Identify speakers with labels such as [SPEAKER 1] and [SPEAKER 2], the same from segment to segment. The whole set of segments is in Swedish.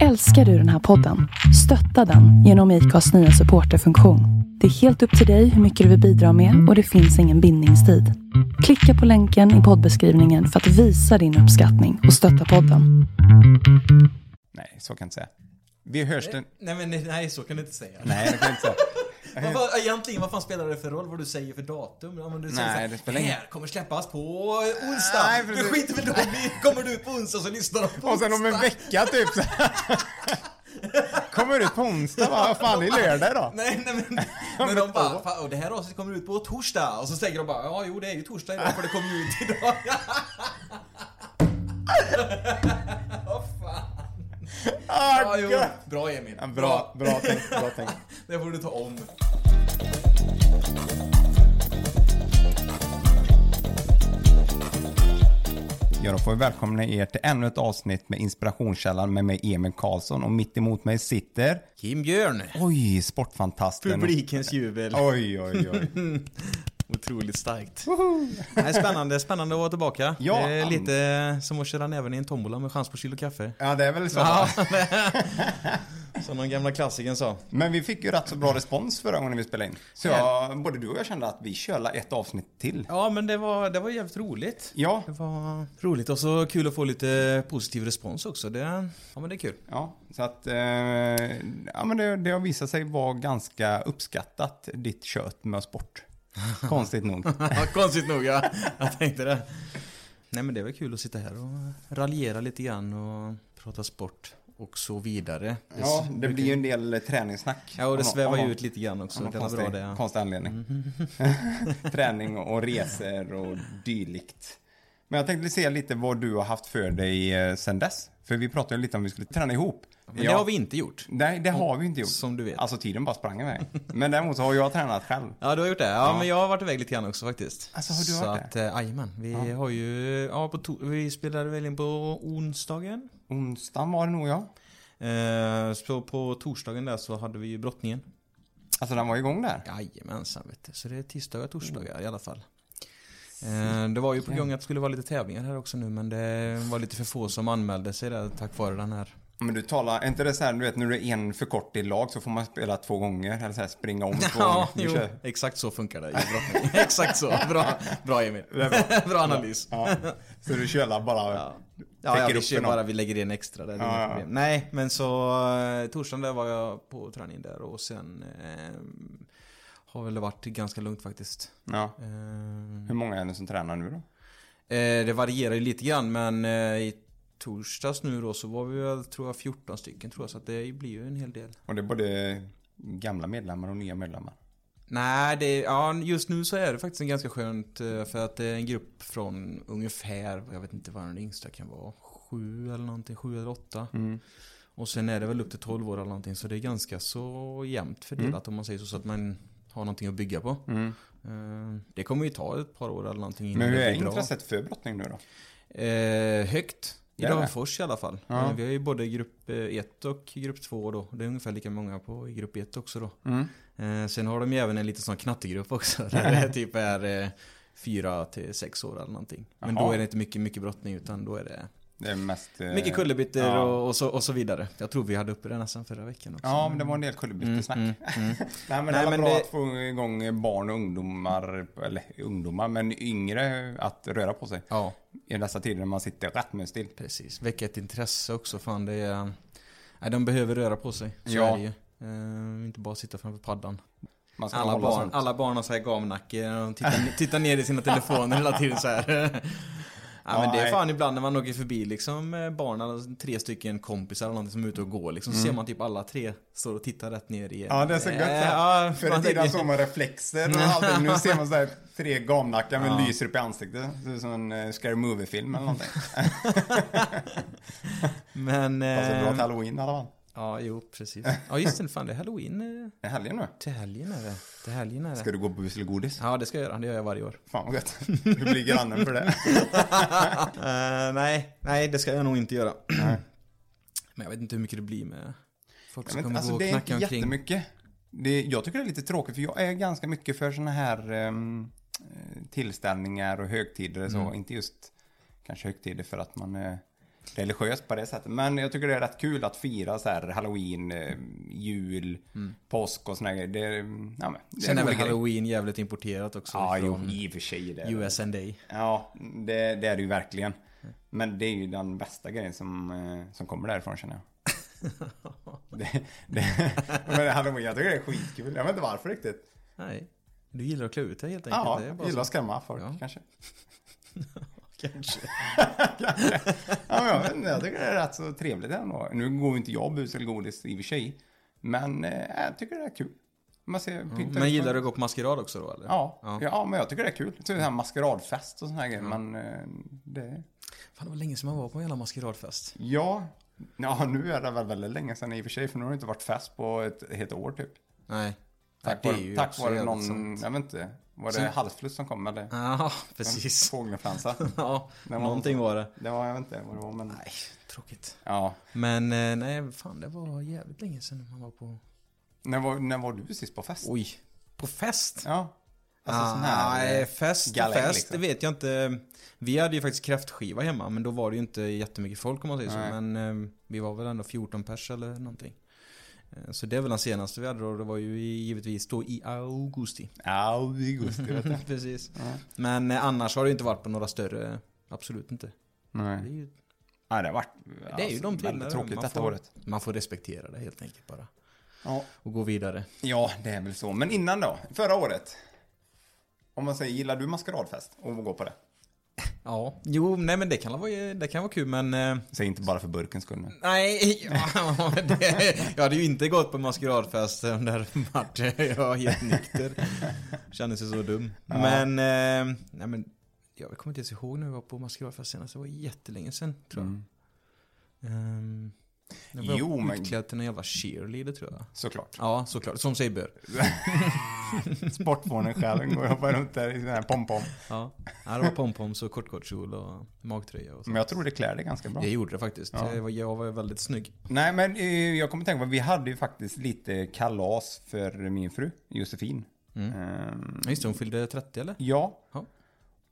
[SPEAKER 1] Älskar du den här podden? Stötta den genom IKAs nya supporterfunktion. Det är helt upp till dig hur mycket du vill bidra med och det finns ingen bindningstid. Klicka på länken i poddbeskrivningen för att visa din uppskattning och stötta podden.
[SPEAKER 2] Nej, så kan jag inte säga. Vi hörs den...
[SPEAKER 3] Nej, men nej, nej, så kan du inte säga.
[SPEAKER 2] Nej, det kan jag inte säga.
[SPEAKER 3] Vad, vad, egentligen, vad fan spelar det för roll vad du säger för datum? Ja, men du säger
[SPEAKER 2] Nej,
[SPEAKER 3] så här,
[SPEAKER 2] det spelar ingen-
[SPEAKER 3] här kommer släppas på onsdag.
[SPEAKER 2] Nej,
[SPEAKER 3] du
[SPEAKER 2] precis.
[SPEAKER 3] skiter väl då i- Kommer du ut på onsdag så lyssnar de på
[SPEAKER 2] Och sen om en
[SPEAKER 3] onsdag.
[SPEAKER 2] vecka typ så Kommer ut på onsdag va? Vad fan, det är lördag då.
[SPEAKER 3] Nej, nej men, men de bara, fan, och det här avsnittet kommer ut på torsdag. Och så säger de bara, ja jo det är ju torsdag idag för det kommer ju ut idag. Vad fan. Ja,
[SPEAKER 2] Ah,
[SPEAKER 3] jo.
[SPEAKER 2] gött.
[SPEAKER 3] Bra Emil.
[SPEAKER 2] Ja, bra, bra tänkt, bra tänkt.
[SPEAKER 3] Det får du ta om.
[SPEAKER 2] Ja, då får vi välkomna er till ännu ett avsnitt med Inspirationskällan med mig Emil Karlsson och mitt emot mig sitter
[SPEAKER 3] Kim Björn.
[SPEAKER 2] Oj, sportfantasten.
[SPEAKER 3] Publikens jubel.
[SPEAKER 2] Oj, oj, oj.
[SPEAKER 3] Otroligt starkt. Nej, spännande, spännande att vara tillbaka.
[SPEAKER 2] Ja.
[SPEAKER 3] det är lite eh, som att köra näven i en tombola med chans på kilo kaffe.
[SPEAKER 2] Ja, det är väl så.
[SPEAKER 3] Ja. som den gamla klassikern sa.
[SPEAKER 2] Men vi fick ju rätt så bra respons förra gången vi spelade in. Så jag, både du och jag kände att vi kör ett avsnitt till.
[SPEAKER 3] Ja, men det var, det var jävligt roligt.
[SPEAKER 2] Ja,
[SPEAKER 3] Det var roligt och så kul att få lite positiv respons också. Det, ja, men det är kul.
[SPEAKER 2] ja. Så att, eh, ja men det, det har visat sig vara ganska uppskattat, ditt kött med sport. Konstigt nog.
[SPEAKER 3] Ja, Konstigt nog, ja. Jag tänkte det. Nej, men det var kul att sitta här och raljera lite grann och prata sport och så vidare.
[SPEAKER 2] Ja, det blir ju en del träningssnack.
[SPEAKER 3] Ja, och det
[SPEAKER 2] Av nå-
[SPEAKER 3] svävar
[SPEAKER 2] av
[SPEAKER 3] ju
[SPEAKER 2] nå-
[SPEAKER 3] ut lite grann också.
[SPEAKER 2] av någon
[SPEAKER 3] Det var bra
[SPEAKER 2] konstig,
[SPEAKER 3] det. Mm. ja.
[SPEAKER 2] konstig anledning. Träning och resor och dylikt. Men jag tänkte se lite vad du har haft för dig eh, sen dess. För vi pratade ju lite om vi skulle träna ihop.
[SPEAKER 3] Men
[SPEAKER 2] Ja.
[SPEAKER 3] det har vi inte gjort.
[SPEAKER 2] Nej, det har vi inte gjort.
[SPEAKER 3] Som du vet.
[SPEAKER 2] Alltså tiden bara sprang iväg. Men däremot så har jag tränat själv.
[SPEAKER 3] Ja, du har gjort det. Ja, men jag har varit iväg lite grann också faktiskt.
[SPEAKER 2] Alltså, har du
[SPEAKER 3] så
[SPEAKER 2] varit
[SPEAKER 3] att, eh, Jajamän. Vi har ju... Ja, på to- vi spelade väl in på onsdagen.
[SPEAKER 2] Onsdagen var det nog ja.
[SPEAKER 3] Eh, så på torsdagen där så hade vi ju brottningen.
[SPEAKER 2] Alltså den var igång där.
[SPEAKER 3] Jajamensan vet du. Så det är tisdagar och torsdagar i alla fall. Eh, Det var ju på gång att det skulle vara lite tävlingar här också nu men det var lite för få som anmälde sig där tack vare den här.
[SPEAKER 2] Men du talar, är inte det så här, du vet när du är en för kort i lag så får man spela två gånger. Eller så här springa om två
[SPEAKER 3] Ja,
[SPEAKER 2] gånger.
[SPEAKER 3] jo,
[SPEAKER 2] Vi kör.
[SPEAKER 3] exakt så funkar det i brottning. Exakt så. Bra, bra Emil. Bra analys.
[SPEAKER 2] Ja. Så du kör bara.
[SPEAKER 3] Ja, ja, ja
[SPEAKER 2] Täcker
[SPEAKER 3] vi
[SPEAKER 2] upp
[SPEAKER 3] kör
[SPEAKER 2] för någon.
[SPEAKER 3] bara, vi lägger in extra där. Det är
[SPEAKER 2] Ja, ja.
[SPEAKER 3] inget problem. Nej, men så eh, torsdagen där var jag på träning där och sen eh, har väl det varit ganska lugnt faktiskt.
[SPEAKER 2] Ja.
[SPEAKER 3] Eh,
[SPEAKER 2] Hur många är det som tränar nu då?
[SPEAKER 3] eh, det varierar ju lite grann men eh, i torsdags nu då så var vi väl tror jag 14 stycken tror jag så att det blir ju en hel del.
[SPEAKER 2] Och det är både gamla medlemmar och nya medlemmar.
[SPEAKER 3] Nej, det, ja, just nu så är det faktiskt en ganska skönt eh, för att det är en grupp från ungefär, jag vet inte vad den yngsta kan vara, sju eller någonting, sju eller åtta.
[SPEAKER 2] Mm.
[SPEAKER 3] Och sen är det väl upp till 12 år eller någonting så det är ganska så jämnt fördelat
[SPEAKER 2] Mm.
[SPEAKER 3] om man säger så, så att man har någonting att bygga på. Eh, Det kommer ju ta ett par år eller någonting innan
[SPEAKER 2] Mm. Men hur
[SPEAKER 3] det
[SPEAKER 2] är
[SPEAKER 3] blir bra.
[SPEAKER 2] intresset för brottning nu då?
[SPEAKER 3] Eh, högt. I
[SPEAKER 2] Det är det.
[SPEAKER 3] Dalfors i alla fall. Eh, Vi har ju både grupp 1 och grupp 2 då. Det är ungefär lika många på i grupp 1 också då. Eh, sen har de ju även en liten sån knattegrupp också. Där det typ är eh, 4 till 6 år eller någonting. Men
[SPEAKER 2] Jaha.
[SPEAKER 3] då är det inte mycket, mycket brottning utan då är det
[SPEAKER 2] Det är mest... eh,
[SPEAKER 3] mycket kullerbyttor
[SPEAKER 2] ja.
[SPEAKER 3] och, och, så, och så vidare. Jag tror vi hade uppe det nästan förra veckan också.
[SPEAKER 2] Ja, men det var en del kullerbyttesnack. Nej, men
[SPEAKER 3] Mm, Nej,
[SPEAKER 2] det är
[SPEAKER 3] men
[SPEAKER 2] bra
[SPEAKER 3] det-
[SPEAKER 2] att få igång barn och ungdomar, eller ungdomar, men yngre att röra på sig.
[SPEAKER 3] ja.
[SPEAKER 2] I dessa tider när man sitter rätt med still.
[SPEAKER 3] Precis, väcka ett intresse också. Fan det är... Nej, de behöver röra på sig. Så
[SPEAKER 2] Ja.
[SPEAKER 3] är det ju. Eh, inte bara sitta framför paddan.
[SPEAKER 2] Man ska
[SPEAKER 3] Alla
[SPEAKER 2] hålla
[SPEAKER 3] barn,
[SPEAKER 2] sånt.
[SPEAKER 3] alla barn har så här gamnacke och de tittar, tittar ner i sina telefoner hela tiden så här. Ja, men det är
[SPEAKER 2] Nej.
[SPEAKER 3] fan ibland när man åker förbi liksom eh, barn, eller tre stycken kompisar eller någonting som är ute och går liksom. Så ser man typ alla tre står och tittar rätt ner i en-
[SPEAKER 2] Mm. Ja, det är så gött.
[SPEAKER 3] Eh,
[SPEAKER 2] Äh,
[SPEAKER 3] ja,
[SPEAKER 2] Förr
[SPEAKER 3] man
[SPEAKER 2] i tiden
[SPEAKER 3] tänker-
[SPEAKER 2] såg man reflexer och allting. Nu ser man så här tre gamnackar men lyser upp i ansiktet. Det ser ut som en eh, scary movie-film eller någonting.
[SPEAKER 3] Men...
[SPEAKER 2] Fast det är alltså bra till
[SPEAKER 3] Eh,
[SPEAKER 2] halloween i alla fall.
[SPEAKER 3] ja, jo, precis. Ja, just det. Fan, det är halloween eh,
[SPEAKER 2] Det är helgen nu.
[SPEAKER 3] till helgen är det. Till helgen är det.
[SPEAKER 2] Ska du gå på bus eller godis?
[SPEAKER 3] Ja, det ska jag göra. Det gör jag varje år.
[SPEAKER 2] Fan vad gött. Hur blir grannen för det?
[SPEAKER 3] Eh, nej, nej, det ska jag nog inte göra. Men jag vet inte hur mycket det blir med folk som
[SPEAKER 2] Men,
[SPEAKER 3] kommer
[SPEAKER 2] alltså
[SPEAKER 3] gå och
[SPEAKER 2] det är
[SPEAKER 3] knacka
[SPEAKER 2] inte
[SPEAKER 3] omkring.
[SPEAKER 2] jättemycket. Det, jag tycker det är lite tråkigt för jag är ganska mycket för såna här ehm,
[SPEAKER 3] Mm.
[SPEAKER 2] eh, tillställningar och högtider och så. Inte just kanske högtider för att man är religiöst på det sättet. Men jag tycker det är rätt kul att fira så här halloween, eh, jul, påsk och såna grejer. Det, är- ja, men, det
[SPEAKER 3] Mm. Sen är
[SPEAKER 2] en
[SPEAKER 3] väl
[SPEAKER 2] rolig grej.
[SPEAKER 3] halloween jävligt importerat också.
[SPEAKER 2] Ja, jo,
[SPEAKER 3] från
[SPEAKER 2] i och för sig. Det är det.
[SPEAKER 3] US and Day.
[SPEAKER 2] Ja, det, det är det ju verkligen. Men det är ju den bästa grejen som, eh, som kommer därifrån känner jag. det, det, men halloween, jag tycker det är skitkul. Jag vet inte varför riktigt.
[SPEAKER 3] Nej. Du gillar att klä ut dig helt enkelt.
[SPEAKER 2] Ja,
[SPEAKER 3] det är bara
[SPEAKER 2] gillar att skrämma folk
[SPEAKER 3] Ja.
[SPEAKER 2] kanske.
[SPEAKER 3] så. Kanske.
[SPEAKER 2] Ja, men jag, vet inte, jag tycker det är rätt så trevligt ändå. Nu går ju inte jag bus eller godis i och för sig. Men eh, jag tycker det är kul. Man ser pyntar
[SPEAKER 3] Men
[SPEAKER 2] ut
[SPEAKER 3] gillar
[SPEAKER 2] folk.
[SPEAKER 3] du att gå på maskerad också då eller?
[SPEAKER 2] Ja, ja.
[SPEAKER 3] Ja.
[SPEAKER 2] men jag tycker det är kul. Typ så här maskeradfest och såna här grejer. Men eh, det...
[SPEAKER 3] Fan, det var länge sedan man var på en jävla maskeradfest.
[SPEAKER 2] Ja. ja, nu är det väl väldigt länge sedan i och för sig. För nu har det inte varit fest på ett helt år typ.
[SPEAKER 3] Nej.
[SPEAKER 2] Tack
[SPEAKER 3] Ja, det är
[SPEAKER 2] vare,
[SPEAKER 3] ju
[SPEAKER 2] tack
[SPEAKER 3] också
[SPEAKER 2] vare
[SPEAKER 3] jävligt
[SPEAKER 2] någon,
[SPEAKER 3] sant.
[SPEAKER 2] jag vet inte. Var det
[SPEAKER 3] Sen-
[SPEAKER 2] halsfluss som kom eller?
[SPEAKER 3] Ja, precis.
[SPEAKER 2] Fågelinfluensa?
[SPEAKER 3] Ja,
[SPEAKER 2] var
[SPEAKER 3] någonting var det.
[SPEAKER 2] Det var, jag vet inte vad det var men.
[SPEAKER 3] Nej, tråkigt.
[SPEAKER 2] Ja.
[SPEAKER 3] Men eh, nej, fan det var jävligt länge sedan man var på...
[SPEAKER 2] När var, när var du sist på fest?
[SPEAKER 3] Oj. På fest?
[SPEAKER 2] Ja. Alltså sån här.
[SPEAKER 3] Ah, Nej,
[SPEAKER 2] eh,
[SPEAKER 3] fest och
[SPEAKER 2] galej,
[SPEAKER 3] fest,
[SPEAKER 2] liksom.
[SPEAKER 3] det vet jag inte. Vi hade ju faktiskt kräftskiva hemma, men då var det ju inte jättemycket folk om man säger
[SPEAKER 2] Nej.
[SPEAKER 3] så. Men eh, vi var väl ändå 14 pers eller någonting. Eh, Så det är väl den senaste vi hade då. Det var ju i- givetvis då i augusti.
[SPEAKER 2] Ja, i augusti vet jag.
[SPEAKER 3] Precis.
[SPEAKER 2] Ja.
[SPEAKER 3] Men eh, annars har det ju inte varit på några större, absolut inte. Det är
[SPEAKER 2] Nej.
[SPEAKER 3] ju,
[SPEAKER 2] Ja, det har varit alltså,
[SPEAKER 3] det är ju de tiderna
[SPEAKER 2] väldigt tråkigt
[SPEAKER 3] man
[SPEAKER 2] detta
[SPEAKER 3] får-
[SPEAKER 2] året.
[SPEAKER 3] man får respektera det helt enkelt bara.
[SPEAKER 2] Ja.
[SPEAKER 3] Och gå vidare.
[SPEAKER 2] ja, det är väl så. Men innan då? Förra året? Om man säger, gillar du maskeradfest? Och gå på det?
[SPEAKER 3] Ja, jo, nej men det kan vara, det kan vara kul men... eh,
[SPEAKER 2] Säg inte bara för burkens skull nu.
[SPEAKER 3] Nej, ja, det, jag hade ju inte gått på maskeradfest under Marte. Jag var helt nykter. Kände sig så dum. Men, eh, nej men, jag kommer inte ens ihåg när vi var på maskeradfest senast. Det var jättelänge sen, tror jag. Ehm, jag var
[SPEAKER 2] Mm. Jo, men-
[SPEAKER 3] utklädd till en jävla cheerleader, tror jag.
[SPEAKER 2] Såklart.
[SPEAKER 3] Ja, såklart. Som sig bör.
[SPEAKER 2] Sportfånen själv går jag bara runt där i sån här pompom.
[SPEAKER 3] Ja. ja, det var pompoms och kortkortkjol och magtröja och så.
[SPEAKER 2] Men jag tror det klär dig ganska bra.
[SPEAKER 3] Det gjorde det faktiskt.
[SPEAKER 2] Ja.
[SPEAKER 3] Jag, var, jag var väldigt snygg.
[SPEAKER 2] Nej, men eh, jag kommer tänka på vi hade ju faktiskt lite kalas för min fru, Josefin.
[SPEAKER 3] Mm.
[SPEAKER 2] Ehm,
[SPEAKER 3] Ja, Just det, hon fyllde 30 eller?
[SPEAKER 2] ja.
[SPEAKER 3] Ja.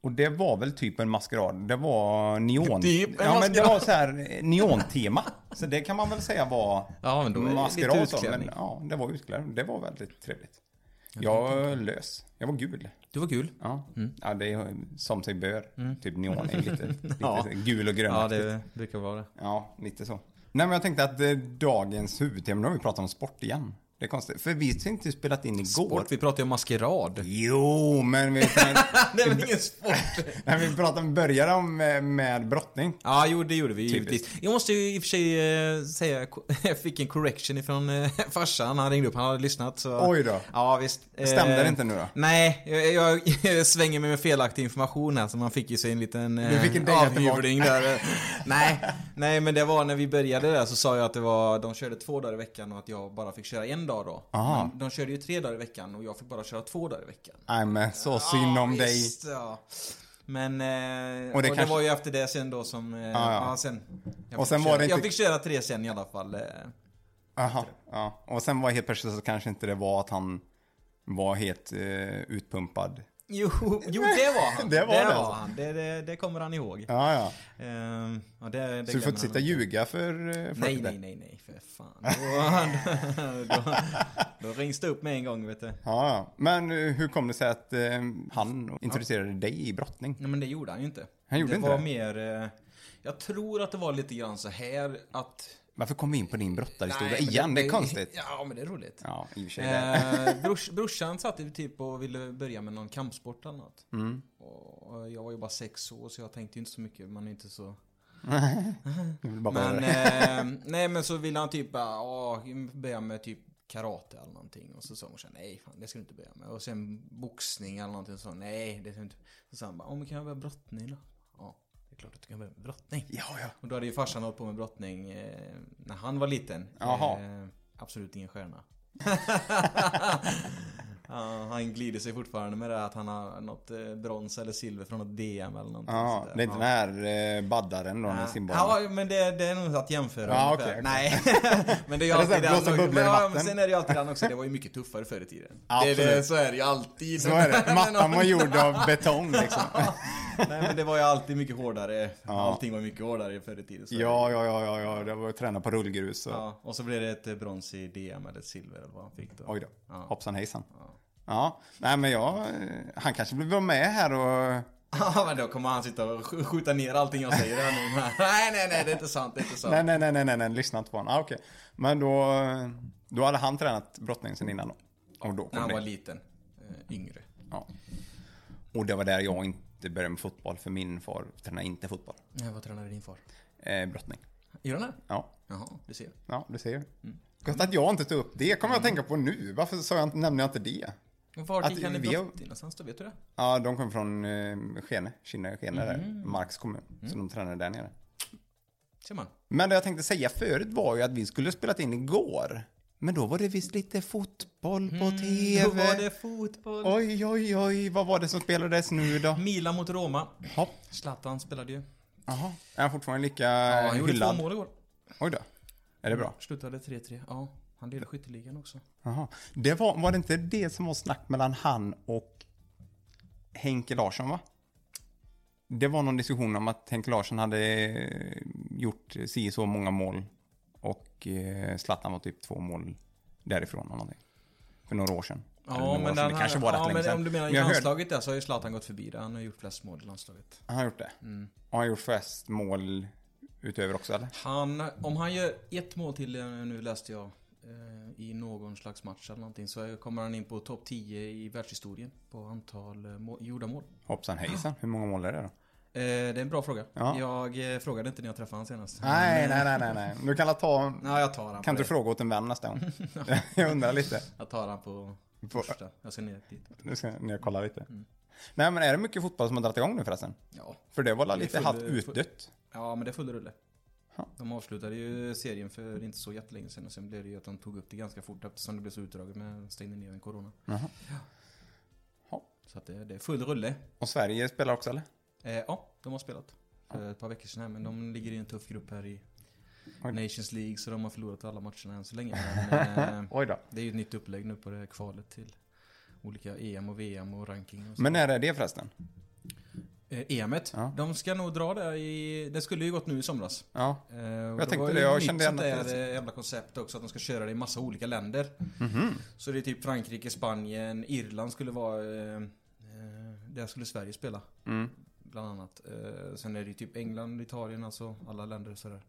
[SPEAKER 2] Och det var väl typ en maskerad. Det var neon.
[SPEAKER 3] Typ en
[SPEAKER 2] ja, men det
[SPEAKER 3] maskerad.
[SPEAKER 2] var så här eh, neontema. Så det kan man väl säga var
[SPEAKER 3] Ja, men då är det lite
[SPEAKER 2] maskerad. så, Men,
[SPEAKER 3] utklädning.
[SPEAKER 2] ja, det var utklädning. Det var väldigt trevligt. Jag var lös. Jag var gul.
[SPEAKER 3] Det var kul.
[SPEAKER 2] Ja, ja det är som sig bör. Typ neon är lite, lite
[SPEAKER 3] Mm. Ja.
[SPEAKER 2] gul och grön.
[SPEAKER 3] Ja, det brukar vara det.
[SPEAKER 2] Ja, lite så. Nej, men jag tänkte att eh, dagens huvudtema, nu har vi pratat om sport igen. Det är konstigt, för vi har inte spelat in igår.
[SPEAKER 3] Sport, vi pratar ju om maskerad.
[SPEAKER 2] Jo, men vi,
[SPEAKER 3] Det är väl ingen sport?
[SPEAKER 2] nej, vi pratade, började om eh, med brottning.
[SPEAKER 3] Ja, jo, det gjorde vi
[SPEAKER 2] Typiskt.
[SPEAKER 3] givetvis. Jag måste ju i och för sig eh, säga, jag fick en correction ifrån eh, farsan. Han ringde upp, han hade lyssnat. Så...
[SPEAKER 2] Oj då.
[SPEAKER 3] Ja, visst. Eh,
[SPEAKER 2] Stämde det inte nu då?
[SPEAKER 3] Nej, jag, jag, jag svänger mig med felaktig information här så man fick ju sig en liten eh,
[SPEAKER 2] Du fick en dänga tillbaka.
[SPEAKER 3] avhyvling där. nej, nej, men det var när vi började där så sa jag att det var, de körde två dagar i veckan och att jag bara fick köra en dag då.
[SPEAKER 2] Aha.
[SPEAKER 3] Men de körde ju tre dagar i veckan och jag fick bara köra två dagar i veckan.
[SPEAKER 2] Nej, men så synd om
[SPEAKER 3] Ja,
[SPEAKER 2] dig.
[SPEAKER 3] visst, ja. Men eh,
[SPEAKER 2] Och
[SPEAKER 3] och
[SPEAKER 2] det
[SPEAKER 3] det,
[SPEAKER 2] kanske-
[SPEAKER 3] var ju efter det sen då som... Eh,
[SPEAKER 2] Ja,
[SPEAKER 3] ja,
[SPEAKER 2] ja.
[SPEAKER 3] sen, jag
[SPEAKER 2] Och
[SPEAKER 3] fick
[SPEAKER 2] sen var
[SPEAKER 3] köra,
[SPEAKER 2] det inte-
[SPEAKER 3] Jag fick köra tre sen i alla fall. Eh,
[SPEAKER 2] Aha, ja. Och sen var helt plötsligt så kanske inte det var att han var helt eh, utpumpad.
[SPEAKER 3] jo, jo, det var han.
[SPEAKER 2] Det var det, alltså.
[SPEAKER 3] han. Det, det, det kommer han ihåg.
[SPEAKER 2] Ja, ja.
[SPEAKER 3] Ehm, ja, det, det
[SPEAKER 2] Så du
[SPEAKER 3] glömmer
[SPEAKER 2] får inte
[SPEAKER 3] han
[SPEAKER 2] sitta och ljuga för eh, folk
[SPEAKER 3] Nej,
[SPEAKER 2] där.
[SPEAKER 3] nej, nej, nej, för fan. Då, då, då, då rings det upp med en gång, vet du.
[SPEAKER 2] Ja, ja. men eh, hur kom det sig att eh, han introducerade dig i brottning?
[SPEAKER 3] Nej, men det gjorde han ju inte.
[SPEAKER 2] Han gjorde
[SPEAKER 3] det
[SPEAKER 2] inte
[SPEAKER 3] var
[SPEAKER 2] det?
[SPEAKER 3] mer... Eh, jag tror att det var lite grann så här att...
[SPEAKER 2] Varför kom vi in på din brottarhistoria
[SPEAKER 3] Nej, men
[SPEAKER 2] igen? Det är konstigt.
[SPEAKER 3] Ja, men det är roligt.
[SPEAKER 2] Ja, i och för sig. det.
[SPEAKER 3] Eh, brors, brorsan satt ju typ och ville börja med någon kampsport eller något. Och jag var ju bara sex år så jag tänkte ju inte så mycket. Man är inte så...
[SPEAKER 2] Jag vill bara
[SPEAKER 3] Men,
[SPEAKER 2] men,
[SPEAKER 3] eh, nej men så ville han typ bara, "Ja, börja med typ karate eller någonting. Och så sa morsan, nej fan det ska du inte börja med. Och sen boxning eller någonting. Så sa hon, nej det ska du inte. Så sa han bara, "Ja, men kan jag börja med brottning då? Ja, det är klart att du kan börja med brottning.
[SPEAKER 2] Ja, ja.
[SPEAKER 3] Och då hade ju farsan hållit på med brottning eh, när han var liten.
[SPEAKER 2] Jaha.
[SPEAKER 3] Eh, absolut ingen stjärna. Ja, han glider sig fortfarande med det här att han har något eh, brons eller silver från något DM eller någonting
[SPEAKER 2] Ja,
[SPEAKER 3] sånt där.
[SPEAKER 2] det är inte den här eh, baddaren då, den simbollen.
[SPEAKER 3] Ja, men det, det är nog att jämföra
[SPEAKER 2] Ja,
[SPEAKER 3] ungefär.
[SPEAKER 2] okej, okej.
[SPEAKER 3] Nej, men det är ju
[SPEAKER 2] Eller så här,
[SPEAKER 3] alltid
[SPEAKER 2] blåsa
[SPEAKER 3] den
[SPEAKER 2] bubblor i
[SPEAKER 3] men, ja,
[SPEAKER 2] vatten.
[SPEAKER 3] men sen är det ju alltid den också. Det var ju mycket tuffare förr i tiden.
[SPEAKER 2] Absolut.
[SPEAKER 3] Det är det, så är det ju alltid.
[SPEAKER 2] Så är det. Mattan
[SPEAKER 3] Men-
[SPEAKER 2] var gjord av betong liksom.
[SPEAKER 3] Nej, men det var ju alltid mycket hårdare.
[SPEAKER 2] Ja.
[SPEAKER 3] Allting var mycket hårdare förr i tiden. så är det.
[SPEAKER 2] Ja, ja, ja, ja, ja. Det var att träna på rullgrus. Och...
[SPEAKER 3] ja. Och så blev det ett eh, brons i DM eller ett silver eller vad han fick då.
[SPEAKER 2] Oj då.
[SPEAKER 3] Ja.
[SPEAKER 2] Hoppsan hejsan. Ja. Nej men jag... eh, Han kanske vill vara med här och...
[SPEAKER 3] Ja, men då kommer han sitta och sk- skjuta ner allting jag säger här nu. Nej, nej, nej, det är inte sant, det är inte sant.
[SPEAKER 2] Nej, nej, nej, nej, nej, nej. Lyssna inte på honom. Ah, okej. Men då... eh, Då hade han tränat brottningen sen innan då. Och då
[SPEAKER 3] När
[SPEAKER 2] kom
[SPEAKER 3] han var
[SPEAKER 2] det.
[SPEAKER 3] liten, eh, yngre.
[SPEAKER 2] Ja. Och det var där jag inte började med fotboll. För min far tränade inte fotboll.
[SPEAKER 3] Nej, vad tränade din far?
[SPEAKER 2] Eh, brottning.
[SPEAKER 3] Gör han det?
[SPEAKER 2] Ja.
[SPEAKER 3] Jaha, du ser.
[SPEAKER 2] Ja, du ser.
[SPEAKER 3] Mm.
[SPEAKER 2] Gott att jag inte tog upp det. kommer jag att tänka på nu. Varför sa jag, inte- nämnde jag inte det?
[SPEAKER 3] Men Vart
[SPEAKER 2] Att
[SPEAKER 3] gick han i
[SPEAKER 2] vi-
[SPEAKER 3] brottning någonstans då? Vet du det?
[SPEAKER 2] Ja, de kom från eh, Skene, Kinna Skene där,
[SPEAKER 3] Mm.
[SPEAKER 2] Marks kommun. Så de tränade där nere.
[SPEAKER 3] Ser man?
[SPEAKER 2] Men det jag tänkte säga förut var ju att vi skulle ha spelat in igår. Men då var det visst lite fotboll på TV.
[SPEAKER 3] Mm. Då var det fotboll.
[SPEAKER 2] Oj, oj, oj, vad var det som spelades nu då?
[SPEAKER 3] Milan mot Roma.
[SPEAKER 2] Hopp.
[SPEAKER 3] Zlatan spelade ju.
[SPEAKER 2] Jaha, är han fortfarande lika
[SPEAKER 3] Ja, han gjorde två
[SPEAKER 2] Eh, hyllad?
[SPEAKER 3] mål igår.
[SPEAKER 2] Oj då. Är det bra?
[SPEAKER 3] Slutade 3-3. Ja, han leder skytteligan också.
[SPEAKER 2] Jaha. Det var, var det inte det som var snack mellan han och Henke Larsson va? Det var någon diskussion om att Henke Larsson hade eh, gjort si så många mål och eh, Zlatan var typ två mål därifrån eller någonting. För några år sedan. Eller några
[SPEAKER 3] Ja,
[SPEAKER 2] år
[SPEAKER 3] men
[SPEAKER 2] sedan.
[SPEAKER 3] den
[SPEAKER 2] det
[SPEAKER 3] här-
[SPEAKER 2] kanske var rätt
[SPEAKER 3] ja,
[SPEAKER 2] länge
[SPEAKER 3] men
[SPEAKER 2] sedan.
[SPEAKER 3] om du menar
[SPEAKER 2] Men
[SPEAKER 3] i
[SPEAKER 2] jag hörde-
[SPEAKER 3] landslaget där så har ju Zlatan gått förbi det. Han har gjort flest mål i landslaget.
[SPEAKER 2] Han har gjort det?
[SPEAKER 3] Mm.
[SPEAKER 2] Och han har gjort flest mål utöver också eller?
[SPEAKER 3] Han, om han gör ett mål till, eh, nu läste jag, eh, i någon slags match eller någonting så kommer han in på topp 10 i världshistorien på antal eh, mål, gjorda mål.
[SPEAKER 2] Hoppsan hejsan, hur många mål är det då?
[SPEAKER 3] Eh, Det är en bra fråga.
[SPEAKER 2] Ja.
[SPEAKER 3] Jag eh, frågade inte när jag träffade honom senast.
[SPEAKER 2] Nej, nej, nej, nej, nej. Nu kan jag ta...
[SPEAKER 3] Nej, jag tar han
[SPEAKER 2] Kan
[SPEAKER 3] på
[SPEAKER 2] du
[SPEAKER 3] det.
[SPEAKER 2] fråga åt en vän nästa gång? jag undrar lite.
[SPEAKER 3] Jag tar han på
[SPEAKER 2] På-
[SPEAKER 3] första. Jag ska ner dit.
[SPEAKER 2] Nu ska ni kolla lite. Nej men är det mycket fotboll som har dragit igång nu förresten?
[SPEAKER 3] Ja,
[SPEAKER 2] För det var la
[SPEAKER 3] Det är
[SPEAKER 2] lite
[SPEAKER 3] full-
[SPEAKER 2] halvt
[SPEAKER 3] full-
[SPEAKER 2] utdött.
[SPEAKER 3] ja men det är full rulle.
[SPEAKER 2] Ja.
[SPEAKER 3] De avslutade ju serien för inte så jättelänge sedan och sen blev det ju att de tog upp det ganska fort eftersom det blev så utdraget med stängde ner med corona.
[SPEAKER 2] Jaha. Ja.
[SPEAKER 3] Ja. Så att det, det är full rulle.
[SPEAKER 2] Och Sverige spelar också eller?
[SPEAKER 3] Eh, ja, de har spelat för ett par veckor sedan här, men de ligger i en tuff grupp här i
[SPEAKER 2] Oj.
[SPEAKER 3] Nations League så de har förlorat alla matcherna än så länge. Men, eh,
[SPEAKER 2] Oj då.
[SPEAKER 3] det är ju ett nytt upplägg nu på det här kvalet till olika EM och VM och ranking och så.
[SPEAKER 2] Men när är det förresten?
[SPEAKER 3] Eh, EMet,
[SPEAKER 2] Ja.
[SPEAKER 3] de ska nog dra det i... Det skulle ju gått nu i somras.
[SPEAKER 2] Ja.
[SPEAKER 3] Eh, och jag
[SPEAKER 2] tänkte det, jag kände igen att
[SPEAKER 3] det
[SPEAKER 2] det-
[SPEAKER 3] är eh, jävla koncept också att de ska köra det i massa olika länder.
[SPEAKER 2] Mhm.
[SPEAKER 3] Så det är typ Frankrike, Spanien, Irland skulle vara... Eh, eh, där skulle Sverige spela.
[SPEAKER 2] Mm.
[SPEAKER 3] Bland annat. Eh, sen är det ju typ England, Italien, alltså alla länder och sådär.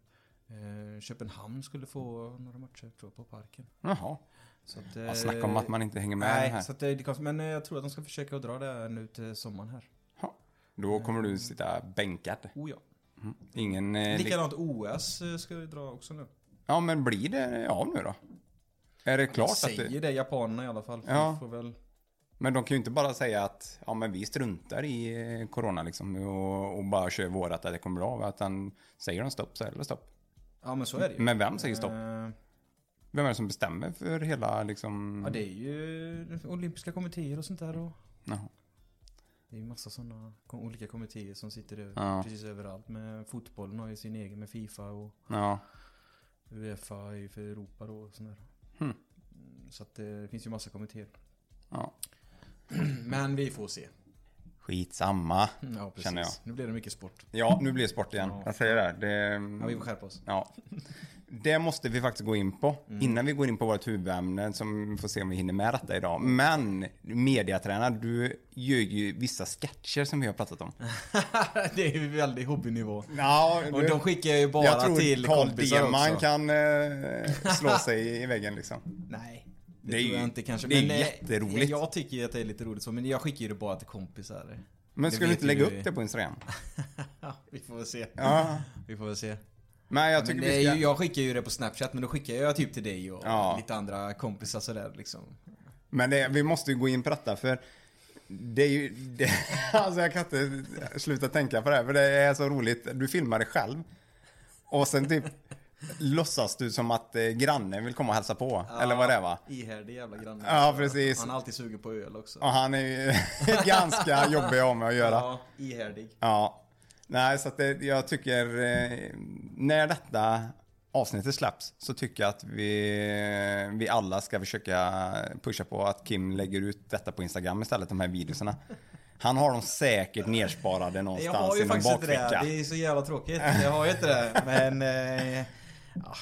[SPEAKER 3] Eh, Köpenhamn skulle få några matcher tror jag på parken.
[SPEAKER 2] Jaha.
[SPEAKER 3] Så att, eh,
[SPEAKER 2] Ja, snacka om att man inte hänger med här.
[SPEAKER 3] Nej, så att det, det kostar, men eh, jag tror att de ska försöka att dra det här nu till sommaren här.
[SPEAKER 2] Ja. Då kommer du sitta bänkad.
[SPEAKER 3] Oh ja.
[SPEAKER 2] Ingen... eh, li-
[SPEAKER 3] Likadant OS eh, ska vi dra också nu.
[SPEAKER 2] Ja men blir det av nu då? Är det klart att
[SPEAKER 3] Säger
[SPEAKER 2] det...
[SPEAKER 3] det japanerna i alla fall. För
[SPEAKER 2] Ja.
[SPEAKER 3] vi får väl...
[SPEAKER 2] Men de kan ju inte bara säga att ja men vi struntar i eh, corona liksom och, och bara kör vårat att det kommer bli av. Utan säger de stopp så är det stopp.
[SPEAKER 3] Ja men så är det ju.
[SPEAKER 2] Men vem säger stopp?
[SPEAKER 3] Eh,
[SPEAKER 2] Vem är det som bestämmer för hela liksom...
[SPEAKER 3] Ja det är ju olympiska kommittéer och sånt där och
[SPEAKER 2] Jaha.
[SPEAKER 3] det är ju massa sådana kom- olika kommittéer som sitter över,
[SPEAKER 2] Ja.
[SPEAKER 3] precis överallt. Men fotbollen har ju sin egen med Fifa och
[SPEAKER 2] Ja.
[SPEAKER 3] Uefa är ju för Europa då och sånt där.
[SPEAKER 2] Hmm.
[SPEAKER 3] Mm, Så att eh, det finns ju massa kommittéer.
[SPEAKER 2] ja.
[SPEAKER 3] Men vi får se.
[SPEAKER 2] Skitsamma.
[SPEAKER 3] Ja precis.
[SPEAKER 2] Mm, Känner jag.
[SPEAKER 3] Nu blir det mycket sport.
[SPEAKER 2] Ja, nu blir det sport igen.
[SPEAKER 3] Ja.
[SPEAKER 2] Jag säger det. det
[SPEAKER 3] Ja vi får skärpa oss.
[SPEAKER 2] ja. Det måste vi faktiskt gå in på innan vi går in på vårt huvudämne som vi får se om vi hinner med detta idag. Men mediatränare, du gör ju vissa sketcher som vi har pratat om.
[SPEAKER 3] det är ju väldigt hobbynivå.
[SPEAKER 2] Ja,
[SPEAKER 3] Och de skickar ju bara
[SPEAKER 2] jag tror
[SPEAKER 3] till
[SPEAKER 2] Carl
[SPEAKER 3] kompisar
[SPEAKER 2] Deman
[SPEAKER 3] också.
[SPEAKER 2] kan eh, slå sig i väggen liksom.
[SPEAKER 3] Nej. Det,
[SPEAKER 2] Det är
[SPEAKER 3] tror
[SPEAKER 2] ju-
[SPEAKER 3] jag inte kanske.
[SPEAKER 2] det är
[SPEAKER 3] eh,
[SPEAKER 2] jätteroligt.
[SPEAKER 3] Jag tycker ju att det är lite roligt så, men jag skickar ju det bara till kompisar.
[SPEAKER 2] Men
[SPEAKER 3] Det
[SPEAKER 2] skulle du
[SPEAKER 3] vet
[SPEAKER 2] inte
[SPEAKER 3] ju
[SPEAKER 2] lägga
[SPEAKER 3] vi.
[SPEAKER 2] upp det på Instagram?
[SPEAKER 3] Ja, vi får väl se.
[SPEAKER 2] Ja.
[SPEAKER 3] Vi får väl se.
[SPEAKER 2] Men jag
[SPEAKER 3] Men
[SPEAKER 2] tycker
[SPEAKER 3] det
[SPEAKER 2] vi
[SPEAKER 3] är
[SPEAKER 2] ska...
[SPEAKER 3] ju, jag skickar ju det på Snapchat, men då skickar jag typ till dig och
[SPEAKER 2] Ja.
[SPEAKER 3] lite andra kompisar sådär liksom.
[SPEAKER 2] Men det, vi måste ju gå in på detta för det är ju, det, alltså jag kan inte sluta tänka på det här för det är så roligt. Du filmar dig själv och sen typ låtsas du som att eh, grannen vill komma och hälsa på. Eller vad det är va?
[SPEAKER 3] Ihärdig jävla granne.
[SPEAKER 2] Ja, precis.
[SPEAKER 3] Han är alltid sugen på öl också.
[SPEAKER 2] Och han är ju ganska jobbig att ha med att göra.
[SPEAKER 3] Ja, ihärdig.
[SPEAKER 2] Ja. Nej, så att det, jag tycker eh, när detta avsnittet släpps så tycker jag att vi, vi alla ska försöka pusha på att Kim lägger ut detta på Instagram istället, de här videorna. Han har dem säkert nersparade
[SPEAKER 3] Jag
[SPEAKER 2] någonstans
[SPEAKER 3] har
[SPEAKER 2] i
[SPEAKER 3] ju
[SPEAKER 2] någon
[SPEAKER 3] faktiskt inte det.
[SPEAKER 2] bakficka.
[SPEAKER 3] Det är så jävla tråkigt. Jag har ju inte det. Men... Eh, ja.
[SPEAKER 2] Ja.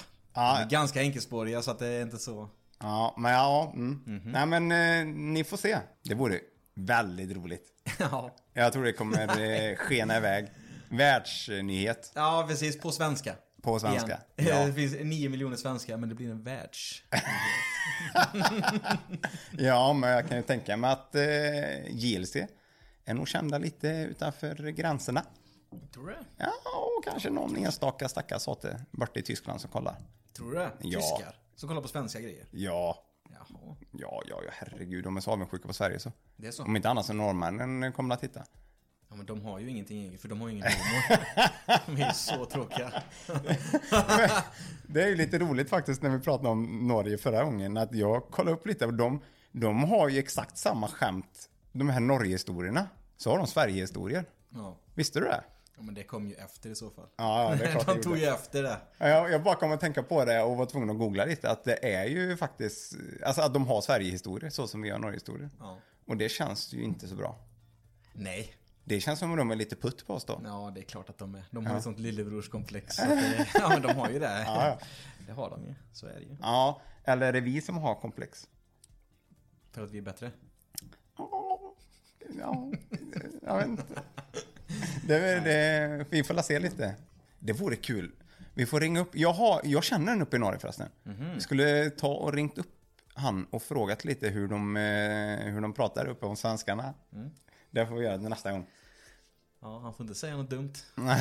[SPEAKER 3] De är ganska enkelspåriga så att det är inte så...
[SPEAKER 2] Ja, men ja. Mm.
[SPEAKER 3] Mhm.
[SPEAKER 2] Nej, men eh, ni får se. Det vore väldigt roligt.
[SPEAKER 3] ja.
[SPEAKER 2] Jag tror det kommer eh, skena iväg. Världsnyhet
[SPEAKER 3] ja, precis. På svenska.
[SPEAKER 2] på svenska.
[SPEAKER 3] Igen.
[SPEAKER 2] Ja.
[SPEAKER 3] Det finns 9 miljoner svenskar men det blir en världs...
[SPEAKER 2] ja, men jag kan ju tänka mig att eh, JLC är nog kända lite utanför gränserna.
[SPEAKER 3] Tror du det?
[SPEAKER 2] Ja, och kanske någon enstaka stackars hate borta i Tyskland som kollar.
[SPEAKER 3] Tror du det?
[SPEAKER 2] Ja.
[SPEAKER 3] Tyskar. Som kollar på svenska grejer.
[SPEAKER 2] Ja,
[SPEAKER 3] Jaha.
[SPEAKER 2] ja, ja, ja herregud, de är så avundsjuka på Sverige så.
[SPEAKER 3] Det är så.
[SPEAKER 2] Om inte annat så norrmännen kommer att titta.
[SPEAKER 3] Ja men de har ju ingenting eget för de har ju ingen humor. de är ju så tråkiga.
[SPEAKER 2] Det är ju lite roligt faktiskt när vi pratade om Norge förra gången att jag kollade upp lite och de, de har ju exakt samma skämt, de här Norgehistorierna, så har de Sverigehistorier.
[SPEAKER 3] Ja.
[SPEAKER 2] Visste du det?
[SPEAKER 3] ja men det kom ju efter i så fall.
[SPEAKER 2] Ja, ja, det är klart det
[SPEAKER 3] de
[SPEAKER 2] gjorde.
[SPEAKER 3] tog ju efter det.
[SPEAKER 2] Ja, Jag, jag bara kom att tänka på det och var tvungen att googla lite att det är ju faktiskt, alltså att de har Sverigehistorier så som vi har Norgehistorier.
[SPEAKER 3] Ja.
[SPEAKER 2] Och det känns ju inte så bra.
[SPEAKER 3] Nej.
[SPEAKER 2] Det känns som att de är lite putt på oss då.
[SPEAKER 3] Ja det är klart att de är. De har ju ett sånt lillebrorskomplex. så att det- ja men de har ju det. Det har de ju. Så är det ju.
[SPEAKER 2] Ja, eller är det vi som har komplex?
[SPEAKER 3] För att vi är bättre.
[SPEAKER 2] Ja, jag vet inte. Det, är- det, vi får la se lite. Det vore kul. Vi får ringa upp. Jag, har, jag känner en uppe i Norge förresten.
[SPEAKER 3] Mhm.
[SPEAKER 2] Vi skulle ta och ringt upp han och frågat lite hur de, eh, hur de pratar uppe om svenskarna.
[SPEAKER 3] Mm.
[SPEAKER 2] Det får vi göra till nästa gång.
[SPEAKER 3] Ja han får inte säga något dumt.
[SPEAKER 2] Mm,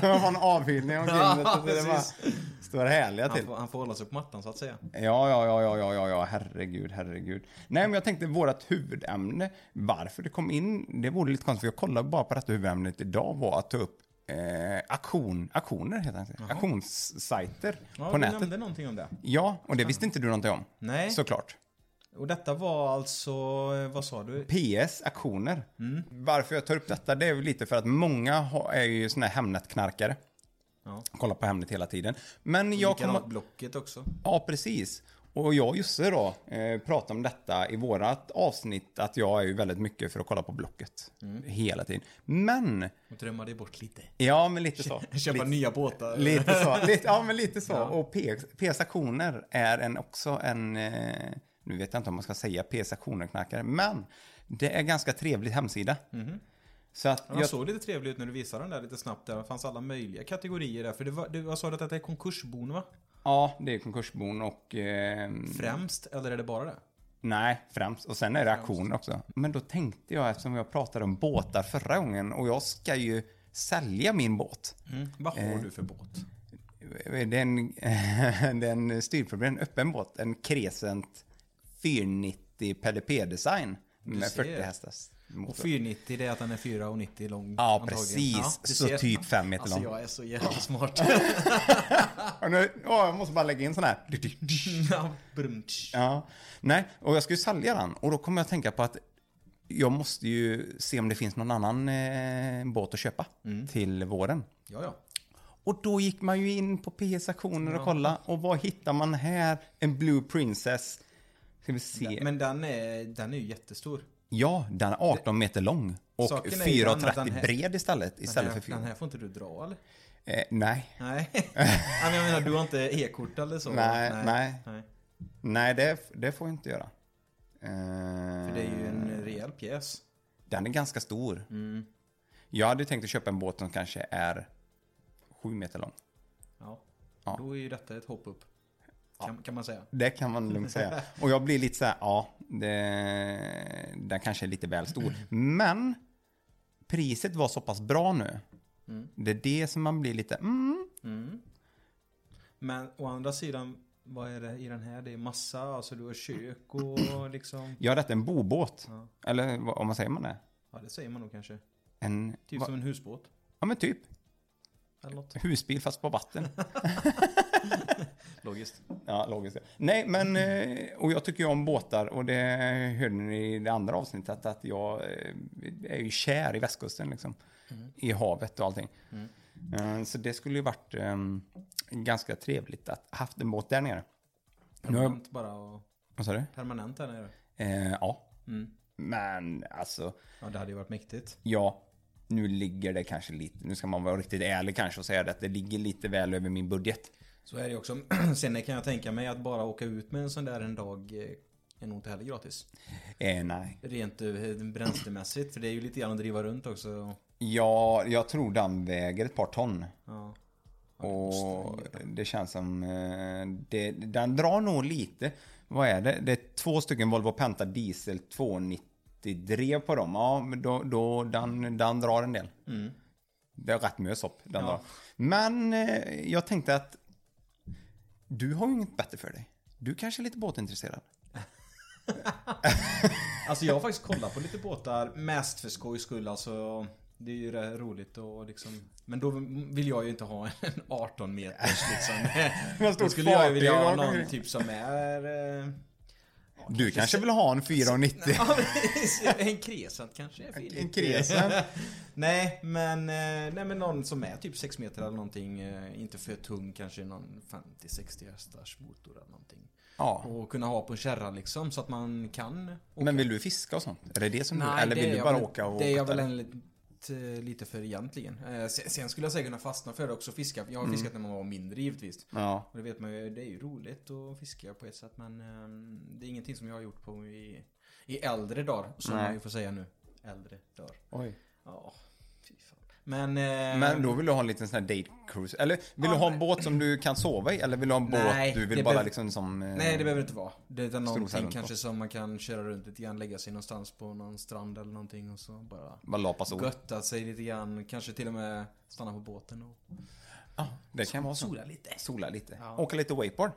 [SPEAKER 2] Det var en avhyllning omkring
[SPEAKER 3] Ja,
[SPEAKER 2] det. så Det bara
[SPEAKER 3] precis.
[SPEAKER 2] står härliga
[SPEAKER 3] Han
[SPEAKER 2] till.
[SPEAKER 3] får, han får hålla sig på mattan så att säga.
[SPEAKER 2] Ja, ja, ja, ja, ja, ja, ja, herregud, herregud. Nej, men jag tänkte vårt huvudämne, varför det kom in, det vore lite konstigt, för jag kollade bara på detta huvudämnet idag, var att ta upp eh, auktion, auktioner heter det, auktionssajter
[SPEAKER 3] Ja,
[SPEAKER 2] på
[SPEAKER 3] du
[SPEAKER 2] nätet.
[SPEAKER 3] nämnde någonting om det.
[SPEAKER 2] Ja, och det visste inte du någonting om.
[SPEAKER 3] Nej.
[SPEAKER 2] Såklart.
[SPEAKER 3] Och detta var alltså, vad sa du?
[SPEAKER 2] PS, auktioner.
[SPEAKER 3] Mm.
[SPEAKER 2] Varför jag tar upp detta, det är ju lite för att många har, är ju såna här Hemnet-knarkare.
[SPEAKER 3] Ja.
[SPEAKER 2] Kollar på Hemnet hela tiden. Men jag kommer...
[SPEAKER 3] Likadant Blocket också.
[SPEAKER 2] Ja, precis. Och jag och Jussi då eh, pratade om detta i vårat avsnitt att jag är ju väldigt mycket för att kolla på Blocket
[SPEAKER 3] Mm.
[SPEAKER 2] hela tiden. Men,
[SPEAKER 3] Och drömma dig bort lite.
[SPEAKER 2] ja men lite så.
[SPEAKER 3] Köpa
[SPEAKER 2] lite,
[SPEAKER 3] nya båtar.
[SPEAKER 2] lite så. Lite, ja men lite så. Och P-stationer är en, också en, eh, nu vet jag inte om man ska säga P-stationer-knarkare, men det är ganska trevlig hemsida. Så att
[SPEAKER 3] Mm-hmm. Ja,
[SPEAKER 2] jag,
[SPEAKER 3] jag såg lite trevlig ut när du visade den där lite snabbt. Där Det fanns alla möjliga kategorier där. För det var, du jag sa att det är konkursbon va?
[SPEAKER 2] ja, det är konkursbon och... Eh,
[SPEAKER 3] Främst, eller är det bara det?
[SPEAKER 2] Nej, främst. Och sen är det auktioner också. Men då tänkte jag, eftersom jag pratade om båtar förra gången och jag ska ju sälja min båt.
[SPEAKER 3] Vad har
[SPEAKER 2] Eh.
[SPEAKER 3] du för båt?
[SPEAKER 2] Det är en, det är en styrproblem, en öppen båt. En Crescent 490 PDP-design med
[SPEAKER 3] ser.
[SPEAKER 2] 40 hästars
[SPEAKER 3] Och
[SPEAKER 2] motor.
[SPEAKER 3] 490, det är att den är 4,90 lång.
[SPEAKER 2] Ja,
[SPEAKER 3] antagligen.
[SPEAKER 2] precis.
[SPEAKER 3] du
[SPEAKER 2] Så
[SPEAKER 3] ser.
[SPEAKER 2] typ fem meter
[SPEAKER 3] alltså,
[SPEAKER 2] lång.
[SPEAKER 3] jag är så jävla smart.
[SPEAKER 2] Och nu, åh, jag måste bara lägga in sån här.
[SPEAKER 3] ja, brumtsch.
[SPEAKER 2] Ja. Nej, och jag ska ju sälja den. Och då kommer jag att tänka på att jag måste ju se om det finns någon annan eh, båt att köpa
[SPEAKER 3] Mm.
[SPEAKER 2] till våren.
[SPEAKER 3] ja, ja.
[SPEAKER 2] Och då gick man ju in på PS-aktioner och kolla. Och vad hittar man här? En Blue Princess. Ska vi se. Ja,
[SPEAKER 3] Men den är, den är ju jättestor.
[SPEAKER 2] den är 18 meter lång. Och
[SPEAKER 3] Saken är ju den att
[SPEAKER 2] 4,30
[SPEAKER 3] den här-
[SPEAKER 2] bred istället.
[SPEAKER 3] Den
[SPEAKER 2] Istället
[SPEAKER 3] här,
[SPEAKER 2] för 4.
[SPEAKER 3] den här får inte du dra eller?
[SPEAKER 2] Eh, nej.
[SPEAKER 3] Nej. Nej, men jag menar du har inte e-kort eller så? va?
[SPEAKER 2] Nej, nej.
[SPEAKER 3] nej.
[SPEAKER 2] Nej, det, det får jag inte göra. Eh,
[SPEAKER 3] För det är ju en rejäl pjäs.
[SPEAKER 2] Den är ganska stor.
[SPEAKER 3] Mm.
[SPEAKER 2] Jag hade tänkt att köpa en båt som kanske är 7 meter lång.
[SPEAKER 3] Ja.
[SPEAKER 2] Ja.
[SPEAKER 3] Då är ju detta ett hopp upp. Kan, kan man säga.
[SPEAKER 2] Det kan man lugnt säga. Och jag blir lite så här, ja, det, den kanske är lite väl stor. Men priset var så pass bra nu.
[SPEAKER 3] Mm.
[SPEAKER 2] Det är det som man blir lite, mm.
[SPEAKER 3] Men å andra sidan, vad är det i den här? Det är massa, alltså du har kök och liksom...
[SPEAKER 2] Ja, detta är en bobåt.
[SPEAKER 3] Ja.
[SPEAKER 2] Eller vad om man säger man det?
[SPEAKER 3] Ja, det säger man nog kanske.
[SPEAKER 2] En,
[SPEAKER 3] Typ
[SPEAKER 2] va,
[SPEAKER 3] som en husbåt.
[SPEAKER 2] ja men typ.
[SPEAKER 3] Eller något.
[SPEAKER 2] Husbil fast på vatten.
[SPEAKER 3] Logiskt.
[SPEAKER 2] Ja, logiskt. ja. Nej, men eh, och jag tycker ju om båtar och det hörde ni i det andra avsnittet att jag eh, är ju kär i västkusten liksom. I havet och allting. Eh, Så det skulle ju varit eh, ganska trevligt att haft en båt där nere. Nu har jag,
[SPEAKER 3] Permanent bara och
[SPEAKER 2] vad sa du?
[SPEAKER 3] permanent där nere.
[SPEAKER 2] Eh, ja,
[SPEAKER 3] Mm.
[SPEAKER 2] men alltså
[SPEAKER 3] Ja, det hade ju varit mäktigt.
[SPEAKER 2] ja, nu ligger det kanske lite, nu ska man vara riktigt ärlig kanske och säga det, att det ligger lite väl över min budget.
[SPEAKER 3] Så är det ju också. Sen kan jag tänka mig att bara åka ut med en sån där en dag eh, är nog inte heller gratis.
[SPEAKER 2] Eh, nej.
[SPEAKER 3] Rent eh, bränslemässigt, för det är ju lite grann att driva runt också.
[SPEAKER 2] Ja, jag tror den väger ett par ton.
[SPEAKER 3] Ja.
[SPEAKER 2] Och det känns som... eh, Det, den drar nog lite. Vad är det? Det är två stycken Volvo Penta Diesel 290 drev på dem. Ja, men då, då, den, den drar en del. Det är rätt mycket sopp den
[SPEAKER 3] Mm. Ja.
[SPEAKER 2] drar. Men eh, jag tänkte att du har ju inget bättre för dig. Du kanske är lite båtintresserad.
[SPEAKER 3] Alltså jag har faktiskt kollat på lite båtar, mest för skojs skull alltså. Det är ju rätt roligt och liksom... Men då vill jag ju inte ha en 18 meters liksom.
[SPEAKER 2] Med stort
[SPEAKER 3] Då skulle jag ju vilja ha
[SPEAKER 2] fartyg och-
[SPEAKER 3] någon typ som är... eh,
[SPEAKER 2] Du kanske vill ha en 490?
[SPEAKER 3] Ja, precis. en kresant kanske är fel.
[SPEAKER 2] En kresen?
[SPEAKER 3] Nej men, eh, nej men någon som är typ 6 meter eller någonting. eh, Inte för tung kanske någon 50-60 hästars motor eller någonting.
[SPEAKER 2] Ja.
[SPEAKER 3] Och kunna ha på en kärra liksom så att man kan
[SPEAKER 2] Men vill du fiska och sånt? Är det det som du... Eller
[SPEAKER 3] det
[SPEAKER 2] vill
[SPEAKER 3] är
[SPEAKER 2] du
[SPEAKER 3] jag
[SPEAKER 2] bara
[SPEAKER 3] väl-
[SPEAKER 2] åka och...
[SPEAKER 3] Det är jag
[SPEAKER 2] åka
[SPEAKER 3] väl
[SPEAKER 2] där?
[SPEAKER 3] en, lite, lite för egentligen. Eh, Sen, sen skulle jag säkert kunna fastna för det också och fiska. Jag har
[SPEAKER 2] Mm.
[SPEAKER 3] fiskat när man var mindre givetvis.
[SPEAKER 2] Ja.
[SPEAKER 3] Och det vet man ju, det är ju roligt att fiska på ett sätt men ehm, det är ingenting som jag har gjort på i, i äldre dagar. Som
[SPEAKER 2] Nej.
[SPEAKER 3] man ju får säga nu. Äldre dagar.
[SPEAKER 2] Oj.
[SPEAKER 3] Ja, fy fan. Men... eh,
[SPEAKER 2] Men då vill du ha en liten sån här date cruise? Eller vill
[SPEAKER 3] Ja,
[SPEAKER 2] du ha en
[SPEAKER 3] nej.
[SPEAKER 2] båt som du kan sova i? Eller vill du ha en
[SPEAKER 3] Nej,
[SPEAKER 2] båt du
[SPEAKER 3] det
[SPEAKER 2] vill bara
[SPEAKER 3] behöv-
[SPEAKER 2] liksom som... eh,
[SPEAKER 3] Nej det behöver det inte vara. Det är
[SPEAKER 2] Strosa
[SPEAKER 3] någonting
[SPEAKER 2] runt på.
[SPEAKER 3] kanske som man kan köra runt lite grann, lägga sig någonstans på någon strand eller någonting och så bara
[SPEAKER 2] Bara lapa sol.
[SPEAKER 3] götta sig lite grann. Kanske till och med stanna på båten och
[SPEAKER 2] Ja, det kan vara så.
[SPEAKER 3] sola lite.
[SPEAKER 2] Sola lite.
[SPEAKER 3] Ja.
[SPEAKER 2] Åka lite wakeboard.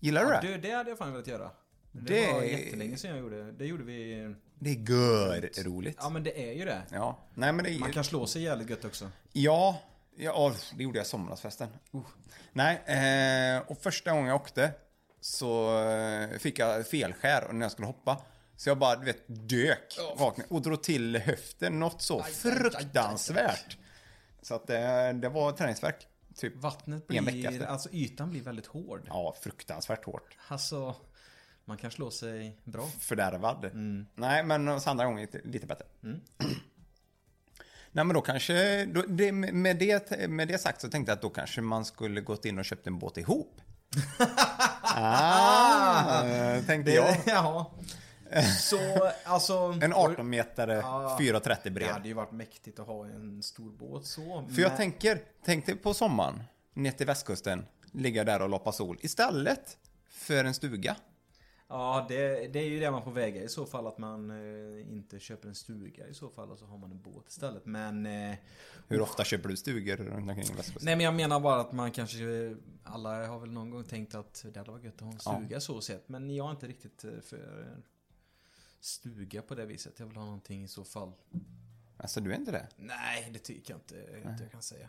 [SPEAKER 2] Gillar du det?
[SPEAKER 3] Du, det hade jag fan velat göra. Det,
[SPEAKER 2] Det
[SPEAKER 3] var
[SPEAKER 2] är-
[SPEAKER 3] jättelänge sedan jag gjorde. Det gjorde vi...
[SPEAKER 2] Det är gör roligt.
[SPEAKER 3] Ja men det är ju det.
[SPEAKER 2] Ja. Nej men det
[SPEAKER 3] Man kan slå sig jävligt gött också.
[SPEAKER 2] Ja, ja uff, det gjorde jag somrasfesten. Nej, eh, och första gången jag åkte så eh, fick jag felskär när jag skulle hoppa. Så jag bara, du vet, dök rakt ner och drog till höften något så fruktansvärt. Så att eh, det var träningsvärk. Typ
[SPEAKER 3] Vattnet
[SPEAKER 2] en vecka
[SPEAKER 3] blir...
[SPEAKER 2] efter.
[SPEAKER 3] Alltså ytan blir väldigt hård.
[SPEAKER 2] Ja, fruktansvärt hårt.
[SPEAKER 3] Alltså... Man kan slå sig bra.
[SPEAKER 2] Fördärvad.
[SPEAKER 3] Mm.
[SPEAKER 2] Nej, men så andra gången gick det lite bättre. Nej men då kanske, då, det, med, det, med det sagt så tänkte jag att då kanske man skulle gått in och köpt en båt ihop. ah, eh, tänkte jag.
[SPEAKER 3] ja. Så alltså...
[SPEAKER 2] En 18 metare
[SPEAKER 3] Ja.
[SPEAKER 2] 4,30
[SPEAKER 3] Det
[SPEAKER 2] bred.
[SPEAKER 3] hade ju varit mäktigt att ha en stor båt så.
[SPEAKER 2] För jag
[SPEAKER 3] men-
[SPEAKER 2] tänker, tänk dig på sommaren, ner till västkusten, ligga där och loppa sol istället för en stuga.
[SPEAKER 3] Ja, det, det är ju det man får väga i så fall. Att man eh, inte köper en stuga i så fall. Och så har man en båt istället. Men... Eh,
[SPEAKER 2] Hur ofta köper du stugor runt omkring västkusten?
[SPEAKER 3] Nej men jag menar bara att man kanske Alla har väl någon gång tänkt att det hade varit gött att ha en
[SPEAKER 2] Ja.
[SPEAKER 3] stuga så sett Men jag är inte riktigt eh, för Stuga på det viset Jag vill ha någonting i så fall
[SPEAKER 2] Alltså du är inte det?
[SPEAKER 3] Nej det tycker jag inte inte jag kan säga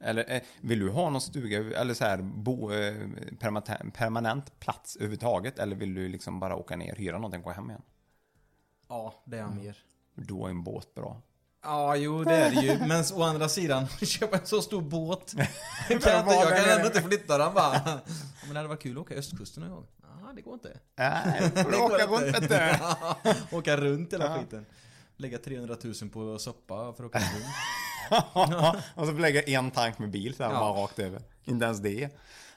[SPEAKER 2] Eller eh, vill du ha någon stuga eller så här bo, eh, permanent, permanent plats överhuvudtaget? Eller vill du liksom bara åka ner, hyra någonting och gå hem igen?
[SPEAKER 3] Ja det är jag mer
[SPEAKER 2] Då är en båt bra.
[SPEAKER 3] Ja jo det är det ju Men å andra sidan köpa en så stor båt kan jag, inte,
[SPEAKER 2] Var
[SPEAKER 3] jag
[SPEAKER 2] den
[SPEAKER 3] kan
[SPEAKER 2] är
[SPEAKER 3] ändå
[SPEAKER 2] det?
[SPEAKER 3] inte flytta den bara ja, Men det hade varit kul att åka östkusten någon gång Ja det går inte
[SPEAKER 2] Nej, får du
[SPEAKER 3] går
[SPEAKER 2] åka
[SPEAKER 3] inte.
[SPEAKER 2] runt vet du.
[SPEAKER 3] Åka runt hela
[SPEAKER 2] Ja.
[SPEAKER 3] skiten Lägga 300 000 på soppa för att åka runt
[SPEAKER 2] och så lägga en tank med bil så här,
[SPEAKER 3] Ja.
[SPEAKER 2] bara rakt över. Inte ens det.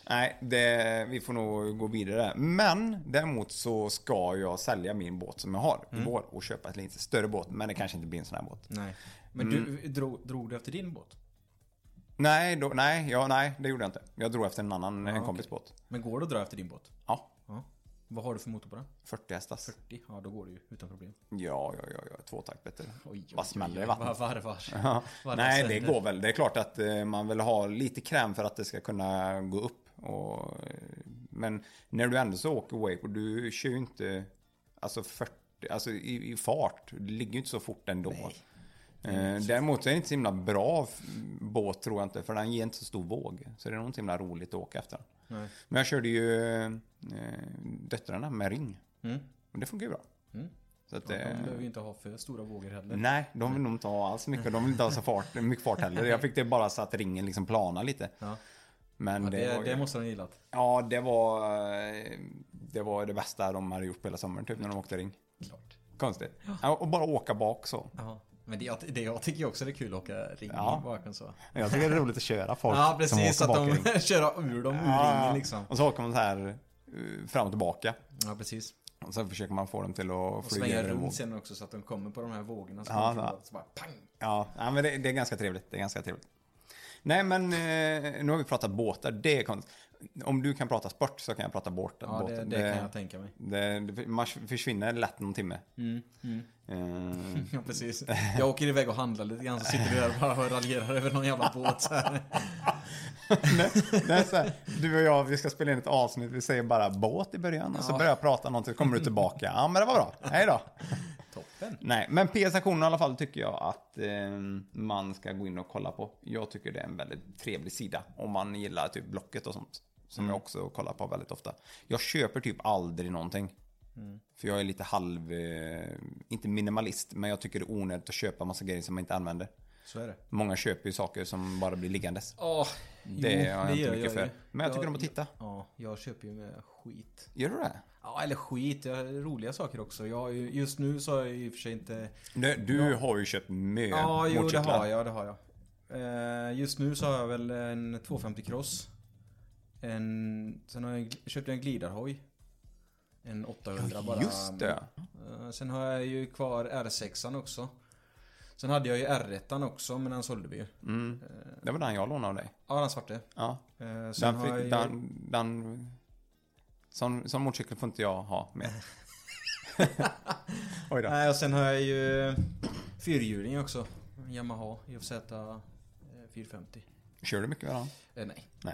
[SPEAKER 2] Nej, det, vi får nog gå vidare. där. Men däremot så ska jag sälja min båt som jag har
[SPEAKER 3] Mm.
[SPEAKER 2] i vår och köpa ett lite större båt. Men det kanske inte blir en sån här båt.
[SPEAKER 3] Nej. Men du,
[SPEAKER 2] Mm.
[SPEAKER 3] drog, drog du efter din båt?
[SPEAKER 2] Nej, då, nej, ja, nej, det gjorde jag inte. Jag drog efter en annan, en
[SPEAKER 3] Ah, okej.
[SPEAKER 2] kompis båt.
[SPEAKER 3] Men går det att dra efter din båt?
[SPEAKER 2] Ja,
[SPEAKER 3] Ja. Vad har du för motor på den?
[SPEAKER 2] 40 hästas.
[SPEAKER 3] 40? Ja, då går det ju utan problem.
[SPEAKER 2] Ja, ja, ja, ja. tvåtakt bättre.
[SPEAKER 3] Oj, oj,
[SPEAKER 2] Vad smäller i
[SPEAKER 3] oj,
[SPEAKER 2] vattnet?
[SPEAKER 3] Vad varvar.
[SPEAKER 2] Ja.
[SPEAKER 3] Varvar
[SPEAKER 2] Nej, det
[SPEAKER 3] sönder.
[SPEAKER 2] går väl. Det är klart att eh, man vill ha lite kräm för att det ska kunna gå upp. Och, eh, men när du ändå så åker wakeboard, du kör ju inte alltså 40, alltså i, i fart. Du ligger ju inte så fort ändå. Eh, Däremot så är det inte så himla bra f- båt tror jag inte, för den ger inte så stor våg. Så det är nog inte himla roligt att åka efter.
[SPEAKER 3] Nej.
[SPEAKER 2] Men jag körde ju eh, döttrarna med ring.
[SPEAKER 3] Mm.
[SPEAKER 2] Och det funkar ju bra.
[SPEAKER 3] Mm.
[SPEAKER 2] Så att,
[SPEAKER 3] Ja,
[SPEAKER 2] eh,
[SPEAKER 3] De behöver ju inte ha för stora vågor heller.
[SPEAKER 2] nej, de vill nog inte ha alls mycket. De vill inte ha så fart, mycket fart heller. Jag fick det bara så att ringen liksom plana lite.
[SPEAKER 3] Ja.
[SPEAKER 2] Men
[SPEAKER 3] Ja,
[SPEAKER 2] det,
[SPEAKER 3] det,
[SPEAKER 2] var
[SPEAKER 3] det
[SPEAKER 2] ju,
[SPEAKER 3] måste de ha gillat.
[SPEAKER 2] ja, det var eh, det var det bästa de hade gjort på hela sommaren typ när de åkte ring.
[SPEAKER 3] Klart.
[SPEAKER 2] Konstigt. Ja, och bara åka bak så.
[SPEAKER 3] Ja. Men det, jag, det, jag tycker ju också det är kul att åka ring
[SPEAKER 2] Ja.
[SPEAKER 3] bakom så.
[SPEAKER 2] Jag tycker det är roligt att köra folk
[SPEAKER 3] Ja,
[SPEAKER 2] som
[SPEAKER 3] precis.
[SPEAKER 2] åker
[SPEAKER 3] Att
[SPEAKER 2] bak i ring.
[SPEAKER 3] de kör ur dem ur
[SPEAKER 2] Ja,
[SPEAKER 3] ringen liksom.
[SPEAKER 2] Och så åker man så här eh, fram och tillbaka.
[SPEAKER 3] Ja, precis.
[SPEAKER 2] Och sen försöker man få dem till att
[SPEAKER 3] Och
[SPEAKER 2] flyga
[SPEAKER 3] svänga
[SPEAKER 2] över våg.
[SPEAKER 3] runt sen också så att de kommer på de här vågorna. Så,
[SPEAKER 2] Ja,
[SPEAKER 3] de
[SPEAKER 2] ja.
[SPEAKER 3] så bara pang!
[SPEAKER 2] Ja, ja men det, det är ganska trevligt. Det är ganska trevligt. Nej, men eh, nu har vi pratat båtar. Det är konstigt. Om du kan prata sport så kan jag prata båt.
[SPEAKER 3] Ja, det,
[SPEAKER 2] båten.
[SPEAKER 3] det kan jag tänka mig. Mm,
[SPEAKER 2] det, det, man försvinner lätt någon timme. Eh,
[SPEAKER 3] Ja, precis. Jag åker iväg och handlar lite grann så sitter vi där och bara och raljerar över någon jävla båt så här.
[SPEAKER 2] det är så här, du och jag, vi ska spela in ett avsnitt. Vi säger bara båt i början och så börjar jag prata någonting. Så kommer du tillbaka. Ja, men det var bra. Hej då.
[SPEAKER 3] Toppen.
[SPEAKER 2] Nej, men PS-aktionen i alla fall tycker jag att eh, man ska gå in och kolla på. Jag tycker det är en väldigt trevlig sida om man gillar typ Blocket och sånt. Som jag också kollar på väldigt ofta. Jag köper typ aldrig någonting. För jag är lite halv, eh, inte minimalist, men jag tycker det är onödigt att köpa massa grejer som man inte använder.
[SPEAKER 3] Så är det.
[SPEAKER 2] Många köper ju saker som bara blir liggandes.
[SPEAKER 3] Åh, jo,
[SPEAKER 2] Det har jag inte
[SPEAKER 3] gör
[SPEAKER 2] mycket
[SPEAKER 3] ju.
[SPEAKER 2] för. Men jag tycker om att titta.
[SPEAKER 3] Ja, jag köper ju med skit.
[SPEAKER 2] Gör du det?
[SPEAKER 3] Ja, eller skit. Jag har roliga saker också. Jag, har ju- just nu så har jag ju i och för sig inte...
[SPEAKER 2] Du, du har ju köpt mö
[SPEAKER 3] Ja, jo det
[SPEAKER 2] motorcyklar.
[SPEAKER 3] har jag, det har jag. Eh, Just nu så har jag väl en 250 cross. En, sen har jag, gl- köpte jag en glidarhoj. En 800 bara.
[SPEAKER 2] Just det.
[SPEAKER 3] Eh, Sen har jag ju kvar R6an också. Sen hade jag ju R1an också men den sålde vi ju.
[SPEAKER 2] Mm. Det var den jag lånade av dig.
[SPEAKER 3] Ja den svarte.
[SPEAKER 2] Ja.
[SPEAKER 3] Eh, Sen
[SPEAKER 2] Den,
[SPEAKER 3] har jag ju-
[SPEAKER 2] fick, den, den, sån, sån motorcykel får inte jag ha med. Oj då.
[SPEAKER 3] Nej och sen har jag ju fyrhjuling också. En Yamaha EFZ eh, 450.
[SPEAKER 2] Kör du mycket med den?
[SPEAKER 3] Eh, nej.
[SPEAKER 2] Nej.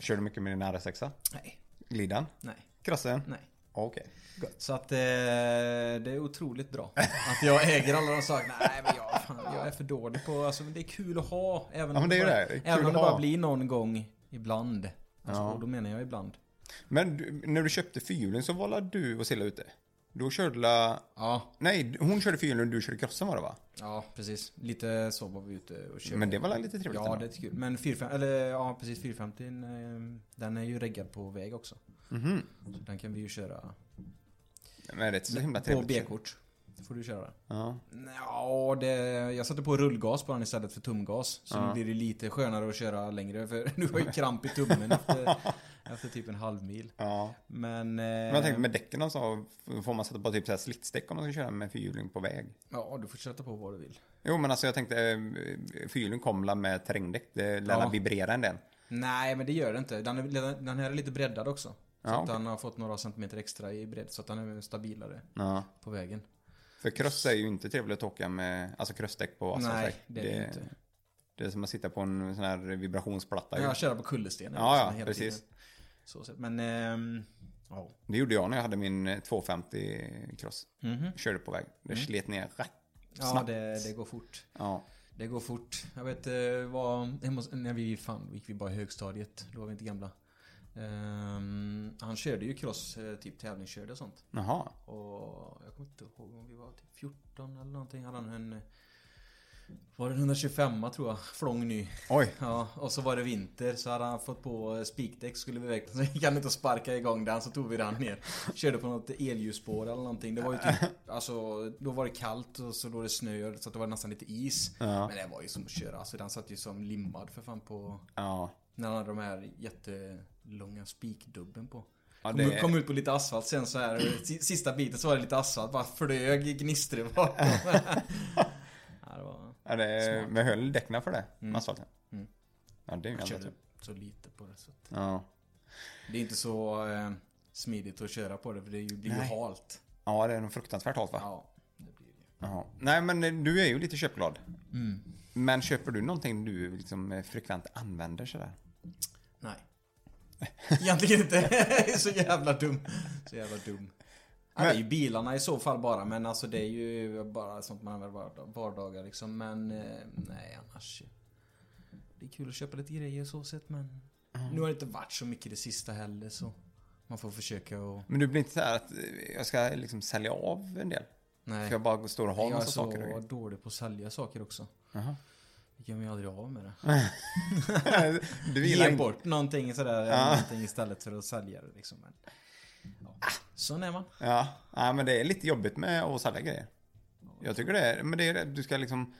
[SPEAKER 2] Kör du mycket med din R6?
[SPEAKER 3] Nej.
[SPEAKER 2] Glidan?
[SPEAKER 3] Nej.
[SPEAKER 2] Krossen?
[SPEAKER 3] Nej.
[SPEAKER 2] Okej.
[SPEAKER 3] Så att eh, det är otroligt bra att jag äger alla de sakerna. Nej men jag, fan, jag är för dålig på, alltså det är kul att ha. Även
[SPEAKER 2] Ja, men det är ju
[SPEAKER 3] bara,
[SPEAKER 2] det. Det är kul
[SPEAKER 3] även om
[SPEAKER 2] att
[SPEAKER 3] det bara
[SPEAKER 2] ha.
[SPEAKER 3] blir någon gång ibland. Alltså,
[SPEAKER 2] Ja.
[SPEAKER 3] Och då menar jag ibland.
[SPEAKER 2] Men du, när du köpte fyrhjuling så var la du och Silla ute? Då körde la...
[SPEAKER 3] Ja,
[SPEAKER 2] Nej, hon körde fyrhjuling och du körde krossen var det va?
[SPEAKER 3] ja precis. Lite så var vi ute och körde.
[SPEAKER 2] Men det var la lite trevligt
[SPEAKER 3] Ja,
[SPEAKER 2] ändå.
[SPEAKER 3] det är kul. Men 450, eller ja precis 450 eh, den är ju reggad på väg också.
[SPEAKER 2] Mhm.
[SPEAKER 3] Så den kan vi ju köra
[SPEAKER 2] Men det är så himla
[SPEAKER 3] på
[SPEAKER 2] trevligt.
[SPEAKER 3] B-kort. Då får du köra den.
[SPEAKER 2] Ja.
[SPEAKER 3] Ja, det, jag satte på rullgas på den istället för tumgas. Så
[SPEAKER 2] Ja.
[SPEAKER 3] nu blir det lite skönare att köra längre. För nu har jag ju kramp i tummen efter, efter typ en halv mil.
[SPEAKER 2] ja.
[SPEAKER 3] Men...
[SPEAKER 2] Men jag
[SPEAKER 3] Eh.
[SPEAKER 2] tänkte med däcken och så får man sätta på typ så här slitsdäck om man ska köra med fyrhjuling på väg.
[SPEAKER 3] eh, Ja, du får sätta på vad du vill.
[SPEAKER 2] Jo men alltså jag tänkte, eh, fyrhjuling kom la med terrängdäck, det lär
[SPEAKER 3] Ja.
[SPEAKER 2] ja. vibrera en del.
[SPEAKER 3] Nej, men det gör det inte. Den, är, den här är lite breddad också. Så
[SPEAKER 2] Ja,
[SPEAKER 3] att
[SPEAKER 2] okej.
[SPEAKER 3] den har fått några centimeter extra i bredd. Så att den är stabilare
[SPEAKER 2] Ja.
[SPEAKER 3] på vägen.
[SPEAKER 2] För cross är ju inte trevligt att åka med, alltså crossdäck på
[SPEAKER 3] Nej,
[SPEAKER 2] asfaltdäck.
[SPEAKER 3] det är det inte.
[SPEAKER 2] Det är som att sitta på en sån här vibrationsplatta. ju.
[SPEAKER 3] Jag köra på kullerstenar.
[SPEAKER 2] Ja,
[SPEAKER 3] liksom
[SPEAKER 2] ja,
[SPEAKER 3] hela
[SPEAKER 2] precis.
[SPEAKER 3] tiden. Så, sett. men... ehm, ja.
[SPEAKER 2] Det gjorde jag när jag hade min eh, 250 cross.
[SPEAKER 3] Mhm.
[SPEAKER 2] Körde på väg. Det slet ner rätt
[SPEAKER 3] Ja,
[SPEAKER 2] snabbt.
[SPEAKER 3] det, det går fort.
[SPEAKER 2] Ja.
[SPEAKER 3] Det går fort. Jag vet eh, vad, hemma hos- när vi fan, då gick vi bara i högstadiet. Då var vi inte gamla. Ehm, han körde ju cross, eh, typ tävlingskörde och sånt.
[SPEAKER 2] Jaha.
[SPEAKER 3] Och jag kommer inte ihåg om vi var typ 14 eller någonting. Hade han en... eh, Var det en 125 tror jag? Flång ny.
[SPEAKER 2] Oj.
[SPEAKER 3] Ja, och så var det vinter så hade han fått på eh, spikdäck skulle vi iväg. Så gick han inte och sparka igång den så tog vi den ner. Körde på något elljusspår eller någonting. Det var ju typ, alltså då var det kallt och så låg det snö så att det var nästan lite is.
[SPEAKER 2] Ja.
[SPEAKER 3] Men det var ju som att köra, alltså den satt ju som limmad för fan på
[SPEAKER 2] Ja.
[SPEAKER 3] när han hade de här jättelånga spikdubben på.
[SPEAKER 2] Ja,
[SPEAKER 3] kom,
[SPEAKER 2] det-
[SPEAKER 3] ut- kom ut på lite asfalt sen så här, si- sista biten så var det lite asfalt, bara flög i gnistor bakom. ja, det var...
[SPEAKER 2] Är det, men höll däcken för det? Asfalten?
[SPEAKER 3] Mm.
[SPEAKER 2] Ja, det är ju jävla
[SPEAKER 3] Jag körde
[SPEAKER 2] tur.
[SPEAKER 3] så lite på det så att...
[SPEAKER 2] Ja.
[SPEAKER 3] Det är inte så eh, smidigt att köra på det för det är ju- blir ju
[SPEAKER 2] Nej.
[SPEAKER 3] halt.
[SPEAKER 2] ja, det är nog fruktansvärt halt va?
[SPEAKER 3] Ja, det blir det.
[SPEAKER 2] Jaha. Nej, men eh, du är ju lite köpglad.
[SPEAKER 3] Mm.
[SPEAKER 2] Men köper du någonting du liksom eh, frekvent använder sådär?
[SPEAKER 3] Nej. Egentligen inte. så jävla dum. Så jävla dum. Ja, det är ju bilarna i så fall bara men alltså det är ju bara sånt man använder vardag, vardagar liksom. Men eh, nej annars. Det är kul att köpa lite grejer så sett men.
[SPEAKER 2] Mm.
[SPEAKER 3] Nu har det inte varit så mycket det sista heller så. Man får försöka och...
[SPEAKER 2] Men du blir inte så här att eh, jag ska liksom sälja av en del?
[SPEAKER 3] Nej.
[SPEAKER 2] Ska jag bara stå och ha en
[SPEAKER 3] jag är
[SPEAKER 2] massa
[SPEAKER 3] så
[SPEAKER 2] saker? och grejer?
[SPEAKER 3] dålig på att sälja saker också.
[SPEAKER 2] Jaha.
[SPEAKER 3] Jag gör mig aldrig av med det.
[SPEAKER 2] Du gillar
[SPEAKER 3] Ge
[SPEAKER 2] inte...
[SPEAKER 3] bort någonting sådär.
[SPEAKER 2] Ja.
[SPEAKER 3] Någonting istället för att sälja det liksom. Men, ja. Sån är man.
[SPEAKER 2] Ja, nej, men det är lite jobbigt med att sälja grejer. Jag tycker det är, men det är det. Du ska liksom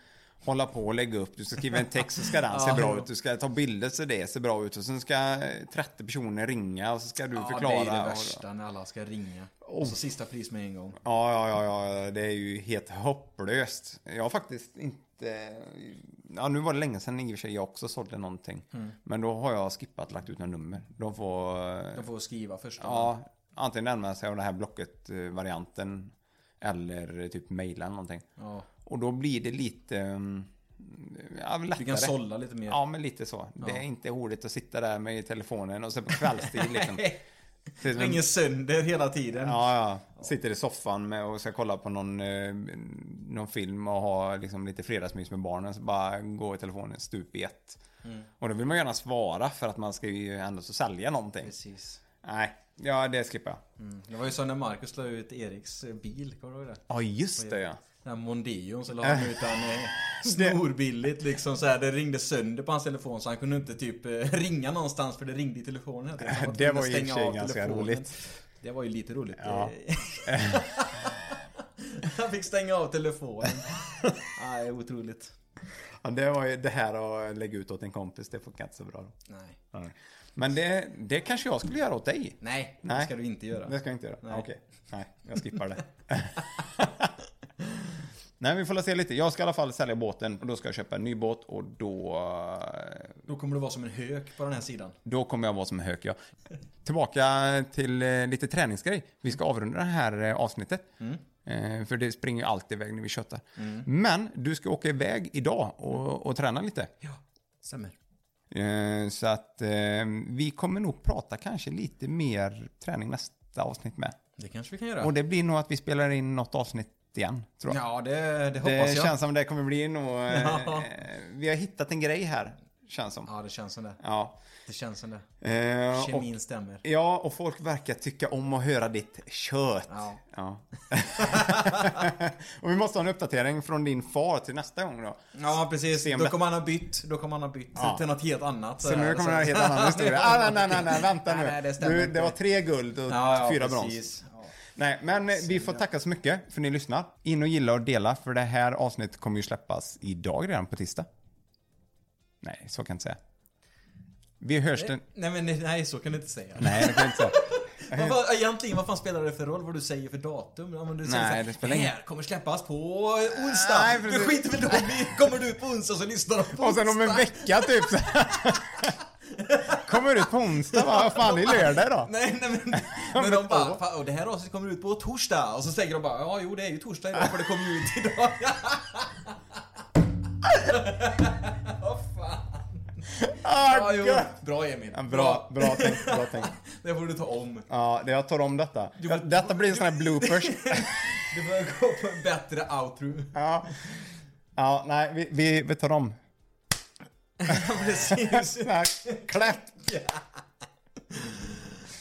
[SPEAKER 2] hålla på och lägga upp. Du ska skriva en text så ska den se
[SPEAKER 3] Ja,
[SPEAKER 2] bra
[SPEAKER 3] jo.
[SPEAKER 2] ut. Du ska ta bilder så det ser bra ut. Och sen ska eh, 30 personer ringa och så ska du förklara. Oh.
[SPEAKER 3] Ja, det är det
[SPEAKER 2] och-
[SPEAKER 3] värsta när alla ska ringa. Och så sista pris med en gång.
[SPEAKER 2] Ja, ja, ja, ja, det är ju helt hopplöst. Jag har faktiskt inte... Ja, nu var det länge sedan i och för sig jag också sålde någonting.
[SPEAKER 3] Mm.
[SPEAKER 2] Men då har jag skippat lagt ut några nummer. De får...
[SPEAKER 3] De får skriva först.
[SPEAKER 2] Ja, antingen använda sig av den här Blocket-varianten eller typ mejla eller någonting.
[SPEAKER 3] Ja.
[SPEAKER 2] Och då blir det lite... mm, Ja, lättare.
[SPEAKER 3] Du kan sålla lite mer.
[SPEAKER 2] Ja, men lite så. Det är inte roligt att sitta där med telefonen och sen på kvällstid liksom. Ser ut som-
[SPEAKER 3] Ringer sönder hela tiden.
[SPEAKER 2] Ja, ja. Sitter i soffan med och ska kolla på någon, eh, någon film och ha liksom lite fredagsmys med barnen. Så bara går telefonen stup i ett.
[SPEAKER 3] Mm.
[SPEAKER 2] Och då vill man gärna svara för att man ska ju ändå så sälja någonting.
[SPEAKER 3] Precis.
[SPEAKER 2] Nej, ja det skippar jag.
[SPEAKER 3] Mm. Det var ju så när Marcus la ut Eriks eh, bil. Kommer du ihåg det?
[SPEAKER 2] Ja, just det ja.
[SPEAKER 3] Den här Mondeon så la
[SPEAKER 2] Äh.
[SPEAKER 3] han ut den eh, snorbilligt liksom så här. Det ringde sönder på hans telefon så han kunde inte typ eh, ringa någonstans för det ringde i telefonen. hela tiden. Han
[SPEAKER 2] Äh, Det
[SPEAKER 3] tvungen
[SPEAKER 2] var
[SPEAKER 3] att
[SPEAKER 2] ju i och för
[SPEAKER 3] stänga
[SPEAKER 2] sig
[SPEAKER 3] av
[SPEAKER 2] ganska
[SPEAKER 3] telefonen.
[SPEAKER 2] roligt.
[SPEAKER 3] Det var ju lite roligt.
[SPEAKER 2] Ja.
[SPEAKER 3] Eh, han fick stänga av telefonen. Nej, otroligt.
[SPEAKER 2] ja det, var ju det här att lägga ut åt en kompis, det funkar inte så bra. Då.
[SPEAKER 3] Nej.
[SPEAKER 2] Nej. Men det, det kanske jag skulle göra åt dig.
[SPEAKER 3] Nej, det
[SPEAKER 2] Nej.
[SPEAKER 3] ska du inte göra.
[SPEAKER 2] Det ska jag inte göra.
[SPEAKER 3] Nej.
[SPEAKER 2] Nej. Okej. Nej, jag skippar det. Nej, vi får la se lite. Jag ska i alla fall sälja båten och då ska jag köpa en ny båt och då...
[SPEAKER 3] Då kommer du vara som en hök på den här sidan.
[SPEAKER 2] Då kommer jag vara som en hök, ja. Tillbaka till eh, lite träningsgrej. Vi ska avrunda det här eh, avsnittet. Eh, För det springer ju alltid iväg när vi köttar. Men du ska åka iväg idag och, och träna lite.
[SPEAKER 3] Ja, stämmer.
[SPEAKER 2] Eh, Så att eh, vi kommer nog prata kanske lite mer träning nästa avsnitt med.
[SPEAKER 3] Det kanske vi kan göra.
[SPEAKER 2] Och det blir nog att vi spelar in något avsnitt igen, tror jag.
[SPEAKER 3] Ja, det, det
[SPEAKER 2] det
[SPEAKER 3] hoppas jag.
[SPEAKER 2] känns som det kommer bli nog... Eh,
[SPEAKER 3] Ja.
[SPEAKER 2] eh, vi har hittat en grej här, känns som.
[SPEAKER 3] Ja, det känns som det.
[SPEAKER 2] Ja.
[SPEAKER 3] Det känns som det.
[SPEAKER 2] Eh, och,
[SPEAKER 3] Kemin stämmer.
[SPEAKER 2] ja, och folk verkar tycka om att höra ditt kött.
[SPEAKER 3] Ja.
[SPEAKER 2] Ja. och vi måste ha en uppdatering från din far till nästa gång då.
[SPEAKER 3] Ja, precis.
[SPEAKER 2] System-
[SPEAKER 3] Då kommer han ha bytt. Då kommer han ha bytt
[SPEAKER 2] Ja.
[SPEAKER 3] till något helt annat.
[SPEAKER 2] Så nu kommer det en helt annan historia. Ah, nej, nej, nej, nej, vänta nu.
[SPEAKER 3] Nej, nej, det stämmer
[SPEAKER 2] nu.
[SPEAKER 3] inte.
[SPEAKER 2] Det var tre guld och
[SPEAKER 3] ja, ja,
[SPEAKER 2] fyra brons.
[SPEAKER 3] precis. brons.
[SPEAKER 2] Nej, men eh, vi får tacka så mycket för ni lyssnar. In och gilla och dela för det här avsnittet kommer ju släppas idag redan på tisdag. Nej, så kan jag inte säga. Vi hörs den...
[SPEAKER 3] Nej, men nej, så kan du inte säga.
[SPEAKER 2] Nej, det kan jag inte säga.
[SPEAKER 3] Vad, vad, egentligen, vad fan spelar det för roll vad du säger för datum? Ja, men du säger
[SPEAKER 2] Nej,
[SPEAKER 3] så här,
[SPEAKER 2] det spelar ingen-
[SPEAKER 3] här kommer släppas på onsdag.
[SPEAKER 2] Nej,
[SPEAKER 3] du
[SPEAKER 2] precis.
[SPEAKER 3] skiter väl då i- Kommer du ut på onsdag så lyssnar de på
[SPEAKER 2] Och sen om en
[SPEAKER 3] onsdag.
[SPEAKER 2] vecka typ så här. Kommer ut på onsdag va? Vad fan, det är lördag idag.
[SPEAKER 3] Nej, nej men, men de bara, "Fan, och det här avsnittet kommer ut på torsdag. Och så tänker de bara, ja jo det är ju torsdag idag för det kommer ju ut idag.
[SPEAKER 2] Ah,
[SPEAKER 3] Ja, jo.
[SPEAKER 2] gött!
[SPEAKER 3] Bra Emil.
[SPEAKER 2] Ja, bra, bra tänkt, bra tänkt.
[SPEAKER 3] Det får du ta om.
[SPEAKER 2] Ja, det- jag tar om detta.
[SPEAKER 3] Du-
[SPEAKER 2] Detta blir en sån här bloopers.
[SPEAKER 3] Du får gå på en bättre outro.
[SPEAKER 2] Ja, ja nej, vi, vi, vi tar om.
[SPEAKER 3] Precis.
[SPEAKER 2] Tack. Kläpp!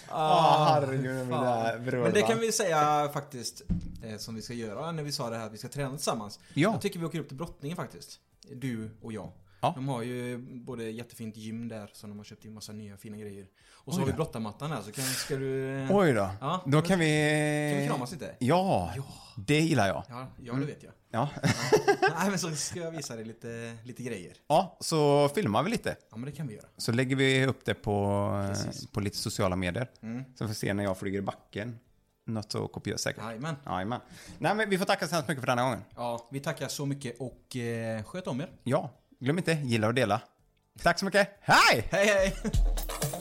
[SPEAKER 2] Ah, herregud, den där
[SPEAKER 3] Fan.
[SPEAKER 2] vrålan.
[SPEAKER 3] Men det kan vi säga faktiskt eh, som vi ska göra när vi sa det här att vi ska träna tillsammans.
[SPEAKER 2] Ja.
[SPEAKER 3] Jag tycker vi åker upp till brottningen faktiskt. Du och jag.
[SPEAKER 2] Ja.
[SPEAKER 3] De har ju både jättefint gym där som de har köpt in massa nya fina grejer. Och så
[SPEAKER 2] Oj
[SPEAKER 3] har vi
[SPEAKER 2] då.
[SPEAKER 3] brottarmattan här så kan, ska du... eh,
[SPEAKER 2] Oj då.
[SPEAKER 3] Ja,
[SPEAKER 2] då
[SPEAKER 3] men-
[SPEAKER 2] kan vi...
[SPEAKER 3] Kan vi kramas lite?
[SPEAKER 2] Ja, det gillar jag.
[SPEAKER 3] Ja, ja det vet jag.
[SPEAKER 2] Ja. Mm.
[SPEAKER 3] Nej men så ska jag visa dig lite, lite grejer.
[SPEAKER 2] ja, så filmar vi lite.
[SPEAKER 3] Ja men det kan vi göra.
[SPEAKER 2] Så lägger vi upp det på, eh,
[SPEAKER 3] Precis. Mm.
[SPEAKER 2] på lite sociala medier. Så får vi se när jag flyger i backen. Något så kopiöst säkert.
[SPEAKER 3] Jajamän.
[SPEAKER 2] Jajamän. Nej, men vi får tacka så hemskt mycket för den här gången.
[SPEAKER 3] Ja, vi tackar så mycket och eh, sköt om er.
[SPEAKER 2] Ja, glöm inte, gilla och dela. Tack så mycket. Hej!
[SPEAKER 3] Hej hej!